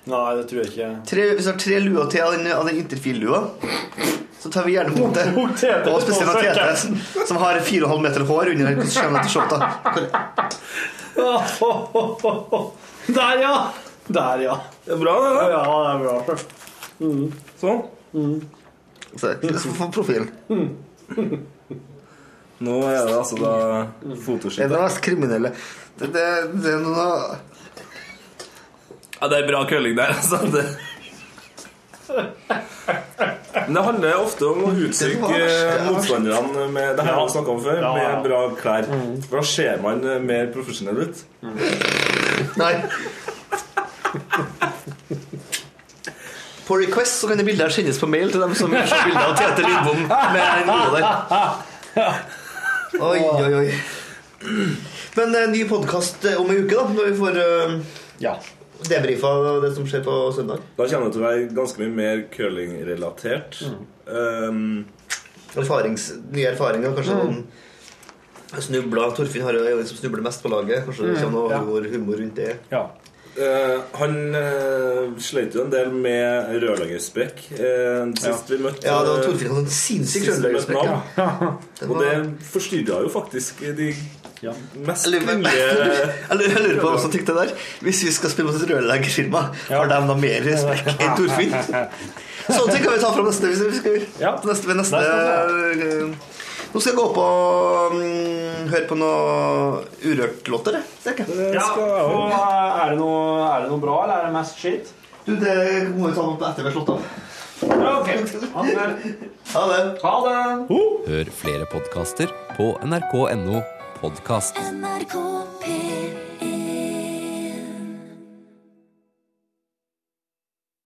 Nei, det tror jeg ikke. <laughs> Tre, hvis dere har tre luer til av den, av den interfil-lua, så tar vi gjerne imot det. Mot Tete. Og spesielt av Tete, som- som har fire og en halv meter hår under skjermen til skjorta. Der, ja! Der, ja. Det er bra, det. Ja, da. det er bra. Sånn. Så så får vi profilen. Nå er det altså da Det er fotoskytt. det mest kriminelle Det, det, det er noe Ja, det er bra kølling der, <laughs> altså. Det. Men det handler ofte om å utstykke eh, motstanderne med Det her har vi snakket om før, Ja, ja. med bra klær. Mm. For da ser man eh, mer profesjonell ut. Nei. På request så kan det bildet her sendes på mail til dem som vil se bilde av Tete Lidbom med den lua der. Oi, oi, oi. Men eh, ny podkast om ei uke, da, når vi får eh, Ja. debrifa det som skjer på søndag. Da kommer det til å være ganske mye mer curlingrelatert. Um, Erfarings, nye erfaringer, kanskje noen snubler. Torfinn Harøy er jo den som snubler mest på laget. Kanskje det kommer noe ja. humor- humor rundt det. ja. eh, han eh, sleit jo en del med rørleggersprekk eh, sist vi møtte Ja, det var Torfinn hadde en sinnssyk sist vi møtte rødleggersprekk. ham. Den Og var- det forstyrra jo faktisk de Ja. <laughs> mest Jeg lurer på- kvinnelige <laughs> Jeg lurer jeg lurer på hva som tenkte der. Hvis vi skal spille mot et rørleggerfirma, har de da mer respekt enn Torfinn? Sånne ting kan vi ta fra neste hvis vi skal. Ja. til Neste, ved neste Der eh, Nå skal jeg gå opp og mm, høre på noe Urørt-låter. jeg, tenker jeg. ja. Og eh, er det, noe, er det noe bra, eller er det mest skitt? Du, det må vi ta opp etter vi har slått av. Ja, ok. Ha det. Ha det. Ha det. Hør flere podkaster på nrk.no podkast. NRK P1